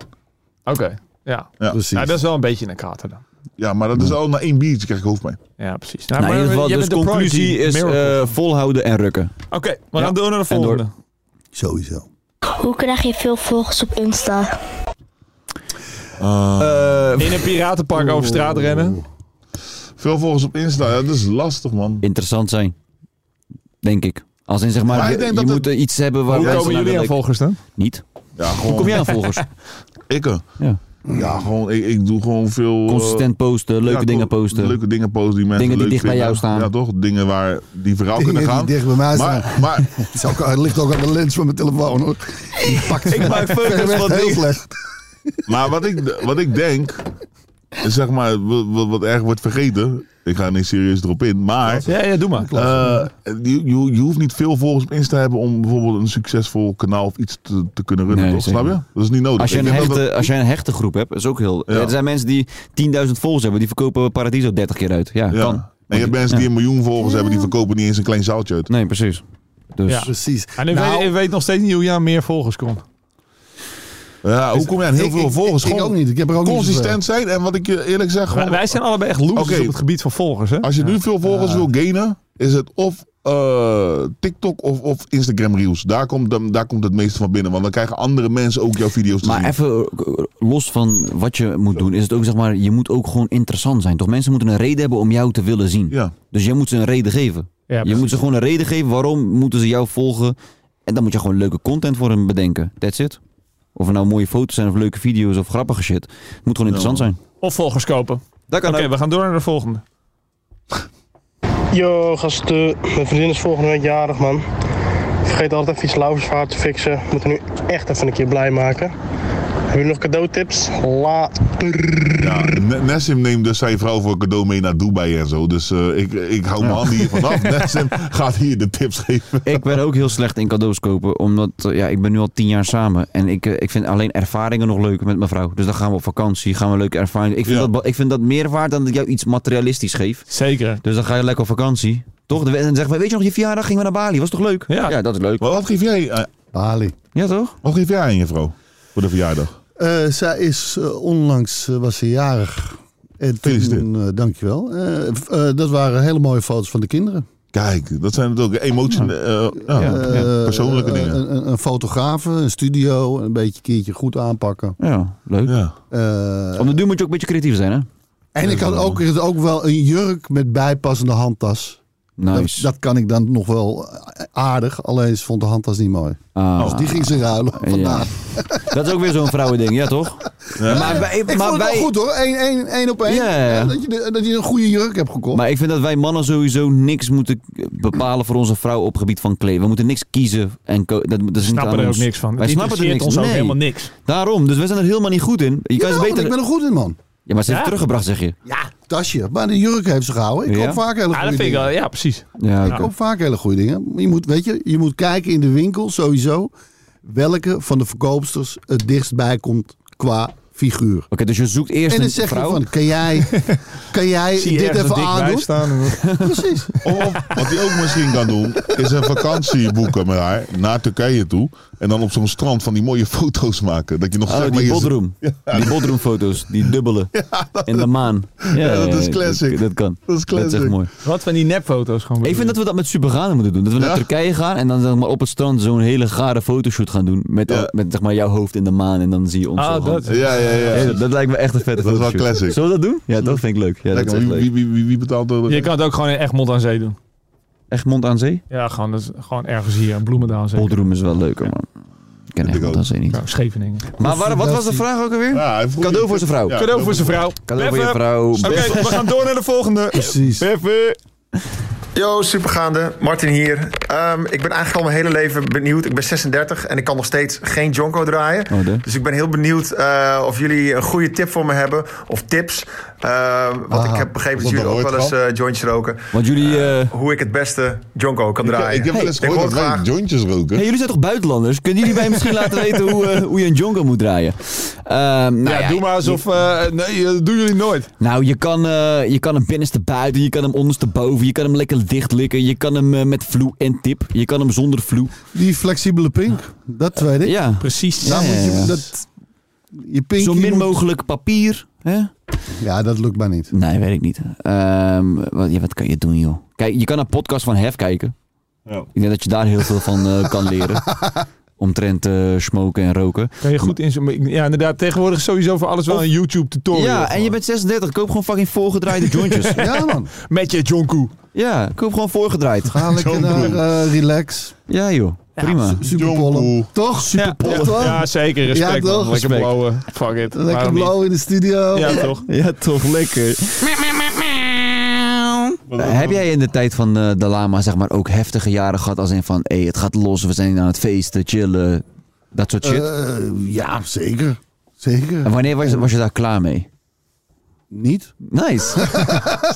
Speaker 4: Oké, ja.
Speaker 3: Ja,
Speaker 6: Precies.
Speaker 4: Nou, dat is wel een beetje een kater dan.
Speaker 3: ja maar dat is al na één biertje krijg ik hoofdpijn.
Speaker 4: Ja, precies. Nou,
Speaker 2: Nou, in
Speaker 4: maar
Speaker 2: ieder geval,
Speaker 4: jij
Speaker 2: dus
Speaker 4: bent de
Speaker 2: conclusie
Speaker 4: prodigy,
Speaker 2: is
Speaker 4: miracle.
Speaker 2: eh, volhouden en rukken.
Speaker 4: Oké, maar dan doen we naar de
Speaker 2: En door.
Speaker 4: volgende.
Speaker 6: Sowieso.
Speaker 10: Hoe krijg je veel volgers op Insta?
Speaker 4: In een piratenpark over straat rennen.
Speaker 3: Veel volgers op Insta, ja, dat is lastig, man.
Speaker 2: Interessant zijn. Denk ik. Als in zeg maar,
Speaker 3: Maar ik
Speaker 2: je,
Speaker 3: denk dat
Speaker 2: moet eh, iets hebben waar
Speaker 4: Hoe
Speaker 2: mensen
Speaker 4: komen
Speaker 2: naar
Speaker 4: jullie aan
Speaker 2: willen-
Speaker 4: volgers dan?
Speaker 2: Niet.
Speaker 3: Ja, gewoon
Speaker 2: Hoe kom jij aan volgers?
Speaker 3: Ikke.
Speaker 2: Ja.
Speaker 3: Oh. Ja. gewoon, ik, ik doe gewoon veel... eh,
Speaker 2: Consistent posten, leuke
Speaker 3: ja,
Speaker 2: dingen
Speaker 3: toch,
Speaker 2: posten.
Speaker 3: Leuke dingen posten die mensen
Speaker 2: Dingen die
Speaker 3: leuk
Speaker 2: dicht bij
Speaker 3: vinden.
Speaker 2: jou staan.
Speaker 3: Ja, toch? Dingen waar die verhaal
Speaker 6: Dingen
Speaker 3: kunnen
Speaker 6: die
Speaker 3: gaan.
Speaker 6: dicht bij mij staan.
Speaker 3: maar, maar
Speaker 6: Het, is ook, het ligt ook aan de lens van mijn telefoon hoor. Die pakt ik
Speaker 9: maak focus van
Speaker 6: heel
Speaker 9: dingen.
Speaker 6: slecht.
Speaker 3: Maar wat ik, wat ik denk, is zeg maar, wat, wat- wat erg wordt vergeten. Ik ga er niet serieus erop in, maar.
Speaker 4: Ja, ja, doe maar.
Speaker 3: eh, je, je, je hoeft niet veel volgers op Insta te hebben om bijvoorbeeld een succesvol kanaal of iets te, te kunnen runnen,
Speaker 2: Nee,
Speaker 3: toch?
Speaker 2: zeker.
Speaker 3: Snap je? Dat is niet nodig.
Speaker 2: Als je,
Speaker 3: Ik
Speaker 2: een
Speaker 3: denk dat
Speaker 2: hechte,
Speaker 3: dat-
Speaker 2: als je een hechte groep hebt, is ook heel...
Speaker 3: Ja.
Speaker 2: Er zijn mensen die 10.000 volgers hebben, die verkopen Paradiso 30 keer uit. Ja,
Speaker 3: ja.
Speaker 2: kan.
Speaker 3: En je hebt mensen die een miljoen volgers hebben, die verkopen niet eens een klein zaaltje uit.
Speaker 2: Nee, precies. Dus
Speaker 4: Ja.
Speaker 6: Precies.
Speaker 4: En ik,
Speaker 6: Nou,
Speaker 4: weet, ik weet nog steeds niet hoe je aan meer volgers komt.
Speaker 3: Ja, hoe kom je aan heel
Speaker 6: ik-
Speaker 3: veel
Speaker 6: ik-
Speaker 3: volgers?
Speaker 6: Ik,
Speaker 3: Gewoon
Speaker 6: ook niet. Ik heb er ook niet
Speaker 3: consistent zijn en wat ik je eerlijk zeg,
Speaker 4: Wij,
Speaker 3: gewoon
Speaker 4: wij zijn allebei echt losers
Speaker 3: Oké.
Speaker 4: op het gebied van volgers, hè?
Speaker 3: Als je nu veel volgers wil gainen, is het of eh, TikTok of, of Instagram Reels. Daar komt, dan, daar komt het meeste van binnen. Want dan krijgen andere mensen ook jouw video's te
Speaker 2: Maar
Speaker 3: zien.
Speaker 2: even eh, los van wat je moet doen, is het ook zeg maar, je moet ook gewoon interessant zijn. Toch mensen moeten een reden hebben om jou te willen zien.
Speaker 3: Ja.
Speaker 2: Dus jij moet ze een reden geven.
Speaker 4: Ja,
Speaker 2: je
Speaker 4: precies.
Speaker 2: moet ze gewoon een reden geven waarom moeten ze jou volgen. En dan moet je gewoon leuke content voor hen bedenken. That's it. Of er nou mooie foto's zijn of leuke video's of grappige shit. Het moet gewoon interessant zijn.
Speaker 4: Of volgers kopen.
Speaker 2: Dat kan
Speaker 4: Oké,
Speaker 2: ook.
Speaker 4: we gaan door naar de volgende.
Speaker 11: Yo, gasten. Mijn vriendin is volgende week jarig, man. Vergeet altijd even iets lauwersvaart te fixen. We moeten nu echt even een keer blij maken. Hebben jullie nog cadeautips? Later.
Speaker 3: Ja, N- Nessim neemt dus zijn vrouw voor cadeau mee naar Dubai en zo. Dus eh, ik, ik hou mijn handen hier vanaf. Nessim gaat hier de tips geven.
Speaker 2: Ik ben ook heel slecht in cadeaus kopen. Omdat eh, ja, ik ben nu al tien jaar samen. En ik, eh, ik vind alleen ervaringen nog leuk met mijn vrouw. Dus dan gaan we op vakantie. Gaan we leuke ervaringen. Ik vind,
Speaker 3: Ja.
Speaker 2: dat, ba- ik vind dat meer waard dan dat ik jou iets materialistisch geef.
Speaker 4: Zeker.
Speaker 2: Dus dan ga je lekker op vakantie. Toch? En dan zeggen we, weet je nog, je verjaardag gingen we naar Bali. Was toch leuk?
Speaker 4: Ja.
Speaker 2: dat is leuk.
Speaker 3: Maar wat geef jij, eh,
Speaker 6: Bali.
Speaker 2: Ja, toch?
Speaker 3: wat geef jij aan je vrouw voor de verjaardag?
Speaker 6: Eh, zij is eh, onlangs eh, was ze jarig. En
Speaker 3: Gefeliciteerd.
Speaker 6: toen, eh, dankjewel. Eh, v- eh, dat waren hele mooie fototies van de kinderen.
Speaker 3: Kijk, dat zijn natuurlijk emotie, eh, ja,
Speaker 6: Eh,
Speaker 3: persoonlijke
Speaker 6: eh,
Speaker 3: dingen.
Speaker 6: Een, een, een fotograaf, een studio, een beetje een keertje goed aanpakken.
Speaker 2: Ja, leuk.
Speaker 3: Ja.
Speaker 6: Eh,
Speaker 2: Om de duur moet je ook een beetje creatief zijn, hè?
Speaker 6: en ik had ook, ik had ook wel een jurk met bijpassende handtas.
Speaker 2: Nice.
Speaker 6: Dat, dat kan ik dan nog wel aardig, alleen ze vond de handtas niet mooi.
Speaker 2: Ah,
Speaker 6: Dus die ging ze ruilen vandaag.
Speaker 2: dat is ook weer zo'n vrouwending, ja, toch? Maar, wij,
Speaker 6: Ik
Speaker 2: maar,
Speaker 6: vond het
Speaker 2: wij,
Speaker 6: wel goed hoor, Eén één, één op één.
Speaker 2: Ja, ja, ja.
Speaker 6: Ja, dat, je, de- dat je een goede jurk hebt gekocht.
Speaker 2: maar ik vind dat wij mannen sowieso niks moeten bepalen voor onze vrouw op gebied van kleding. We moeten niks kiezen. En ko- dat, dat is niet
Speaker 4: snappen
Speaker 2: aan
Speaker 4: er ook
Speaker 2: ons.
Speaker 4: niks van.
Speaker 2: Wij
Speaker 4: Het
Speaker 2: snappen er
Speaker 4: interesseert ons
Speaker 2: niks
Speaker 4: ook
Speaker 2: Nee.
Speaker 4: helemaal niks.
Speaker 2: Daarom, dus wij zijn er helemaal niet goed in. Je kan
Speaker 6: Ja,
Speaker 2: ze
Speaker 6: want
Speaker 2: beter...
Speaker 6: Ik ben een goed in man.
Speaker 2: Ja, maar ze heeft
Speaker 4: Ja?
Speaker 2: teruggebracht, zeg je.
Speaker 6: Tasje, maar de jurk heeft ze gehouden. Ik
Speaker 2: Ja?
Speaker 6: koop vaak hele
Speaker 4: Ja, Ah, dat
Speaker 6: goede
Speaker 4: vind ik
Speaker 6: dingen.
Speaker 4: wel.
Speaker 6: Ik,
Speaker 4: Ja, precies.
Speaker 2: Ja, oké.
Speaker 6: koop vaak hele goede dingen. Je moet, weet je, je moet kijken in de winkel sowieso welke van de verkoopsters het dichtstbij komt qua figuur.
Speaker 2: Oké, dus je zoekt eerst
Speaker 6: En dan
Speaker 2: een
Speaker 6: zeg je
Speaker 2: vrouw.
Speaker 6: van, kan jij, kan jij
Speaker 4: Zie je
Speaker 6: dit
Speaker 4: ergens een
Speaker 6: even
Speaker 4: dik wijf
Speaker 6: aandoen?
Speaker 4: staan?
Speaker 6: Precies.
Speaker 3: Of, of wat hij ook misschien kan doen, is een vakantie boeken met haar naar Turkije toe. En dan op zo'n strand van die mooie foto's maken. Dat je nog
Speaker 2: Oh,
Speaker 3: zeg maar
Speaker 2: die
Speaker 3: je-
Speaker 2: bodroom. Die bodroomfoto's, die dubbele. in de maan. Ja,
Speaker 3: dat is classic.
Speaker 2: Dat, dat kan.
Speaker 3: Dat is
Speaker 2: Dat is echt
Speaker 3: classic.
Speaker 2: mooi.
Speaker 4: Wat van die nepfoto's gewoon.
Speaker 2: Ik vind dat we dat met superganen moeten doen. Dat we naar
Speaker 3: Ja.
Speaker 2: Turkije gaan en dan zeg maar, op het strand zo'n hele gare fotoshoot gaan doen. Met,
Speaker 3: Ja.
Speaker 2: met zeg maar, jouw hoofd in de maan en dan zie je ons zo
Speaker 4: Ah,
Speaker 2: gaan.
Speaker 4: dat.
Speaker 3: Ja, ja, ja.
Speaker 2: Hey, dat, dat lijkt me echt een vette
Speaker 3: Dat is wel
Speaker 2: fotoshoot.
Speaker 3: classic.
Speaker 2: Zullen we dat doen? Ja, dat vind ik leuk. Ja, dat
Speaker 3: Lekker,
Speaker 2: is echt
Speaker 3: wie,
Speaker 2: leuk.
Speaker 3: wie, wie, wie- wie betaalt dat?
Speaker 4: Je kan het ook gewoon in Egmond aan Zee doen.
Speaker 2: Echt mond aan zee?
Speaker 4: Ja, gewoon, dat is gewoon ergens hier in Bloemendaal. zeker.
Speaker 2: Bodrum is wel leuker, man. Ik ken Egmond dat zeker niet.
Speaker 4: Scheveningen.
Speaker 2: Maar waar- wat was de vraag ook alweer? Cadeau voor zijn vrouw.
Speaker 9: Cadeau voor zijn vrouw.
Speaker 2: Cadeau voor je
Speaker 9: Beffen.
Speaker 2: vrouw.
Speaker 9: Oké,
Speaker 2: Beffen.
Speaker 9: we gaan door naar de volgende. Precies.
Speaker 12: Yo, Oh, supergaande. Martin hier. Ehm, ik ben eigenlijk al mijn hele leven benieuwd. Ik ben 36 en ik kan nog steeds geen jonko draaien.
Speaker 2: Oh, de.
Speaker 12: dus ik ben heel benieuwd eh, of jullie een goede tip voor me hebben. Of tips. Ehm, want
Speaker 2: Ah,
Speaker 12: ik heb begrepen dat
Speaker 2: was dat
Speaker 12: jullie ook
Speaker 2: ooit
Speaker 12: wel eens
Speaker 2: van?
Speaker 12: eh, jointjes roken.
Speaker 2: Want jullie... eh,
Speaker 12: Hoe ik het beste jonko eh, kan
Speaker 2: Ik-
Speaker 12: draaien.
Speaker 2: ik heb wel eens
Speaker 12: hoor
Speaker 2: gehoord dat wij
Speaker 12: graag-
Speaker 3: jointjes roken.
Speaker 2: hey, jullie zijn toch buitenlanders? Kunnen jullie mij misschien laten weten hoe, eh, hoe je een jonko moet draaien? Ehm, nou
Speaker 4: ja, doe maar alsof... eh, nee, dat doen jullie nooit.
Speaker 2: Nou, je kan, eh, je kan hem binnenste buiten, je kan hem ondersteboven, je kan hem lekker dicht likken, je kan hem eh, met vloe en tip, je kan hem zonder vloe.
Speaker 6: Die flexibele pink, dat weet ik.
Speaker 2: Ja, precies.
Speaker 6: Daar moet je- dat- je pinkie
Speaker 2: Zo min
Speaker 6: moet-
Speaker 2: mogelijk papier. Hè?
Speaker 6: Ja, dat lukt mij niet.
Speaker 2: Nee, weet ik niet. Ehm, wat, ja, wat kan je doen, joh? Kijk, je kan een podcast van Hef kijken. Ik denk dat je daar heel veel van eh, kan leren. Omtrent eh, smoken en roken.
Speaker 4: Kan je goed in zo'n... Ja, inderdaad. Tegenwoordig is sowieso voor alles wel een YouTube-tutorial.
Speaker 2: Ja, en je bent 36. Koop gewoon fucking voorgedraaide jointjes.
Speaker 6: ja, man.
Speaker 4: Met je jonko.
Speaker 2: Ja, koop gewoon voorgedraaid.
Speaker 6: Ga lekker naar eh, relax.
Speaker 2: Ja, joh. Prima.
Speaker 6: Superpollen. Toch? Superpollen,
Speaker 4: Ja,
Speaker 6: toch?
Speaker 4: ja, zeker. Respect,
Speaker 6: Ja,
Speaker 4: man.
Speaker 6: toch?
Speaker 4: Lekker
Speaker 6: Respect.
Speaker 4: blauwe. Fuck it.
Speaker 6: Lekker
Speaker 4: Waarom niet?
Speaker 6: blauw in de studio.
Speaker 4: Ja, toch?
Speaker 2: Ja, toch lekker. Eh, Heb jij in de tijd van eh, de lama zeg maar ook heftige jaren gehad als in van hey, het gaat los, we zijn aan het feesten, chillen, dat soort shit?
Speaker 6: Eh, ja, zeker. Zeker.
Speaker 2: en wanneer was, was je daar klaar mee?
Speaker 6: Niet.
Speaker 2: Nice.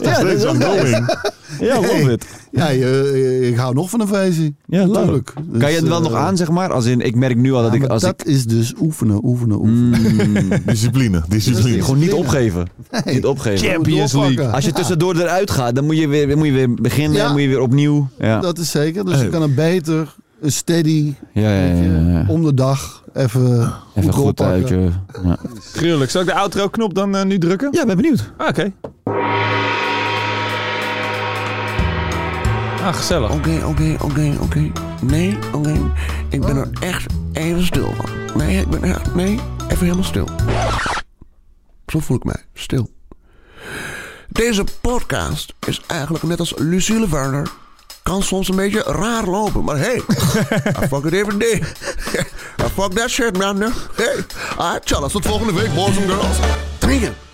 Speaker 6: Ja,
Speaker 2: dat is
Speaker 6: ongoing.
Speaker 2: Ja, love it.
Speaker 6: Ja, je- je- ik hou nog van een feestje.
Speaker 2: Ja, leuk.
Speaker 6: Tuurlijk.
Speaker 2: kan je het wel
Speaker 6: eh,
Speaker 2: nog aan zeg maar? Als in, ik merk nu al dat
Speaker 6: ja,
Speaker 2: ik
Speaker 6: maar
Speaker 2: als
Speaker 6: dat
Speaker 2: ik Mm.
Speaker 6: is dus oefenen, oefenen, oefenen.
Speaker 3: Discipline. Discipline.
Speaker 2: gewoon niet opgeven. Niet opgeven.
Speaker 6: Champions League.
Speaker 2: Als je
Speaker 6: Ja.
Speaker 2: tussendoor eruit gaat, dan moet je weer, dan moet je weer beginnen,
Speaker 6: Ja.
Speaker 2: dan moet je weer opnieuw. Ja.
Speaker 6: Dat is zeker. Dus
Speaker 2: Hey.
Speaker 6: je kan een beter, een steady,
Speaker 2: Ja, ja, ja, ja, ja.
Speaker 6: om de dag even,
Speaker 2: Even goed
Speaker 6: doorpakken.
Speaker 2: uit je. Ja.
Speaker 4: Gruwelijk. Zal ik de outro-knop dan eh, nu drukken?
Speaker 2: Ja, ben benieuwd.
Speaker 4: Ah, Oké. Ah, gezellig.
Speaker 13: Oké, oké, oké, oké. Nee, oké. Ik ben er echt even stil van. Nee, ik ben echt... Nee, even helemaal stil. Zo voel ik mij. Stil. Deze podcast is eigenlijk net als Lucille Werner. Kan soms een beetje raar lopen, maar hey, I fuck it every day. I fuck that shit, man. Hey, ah, tjallas, tot volgende week, boys and girls. Drinken!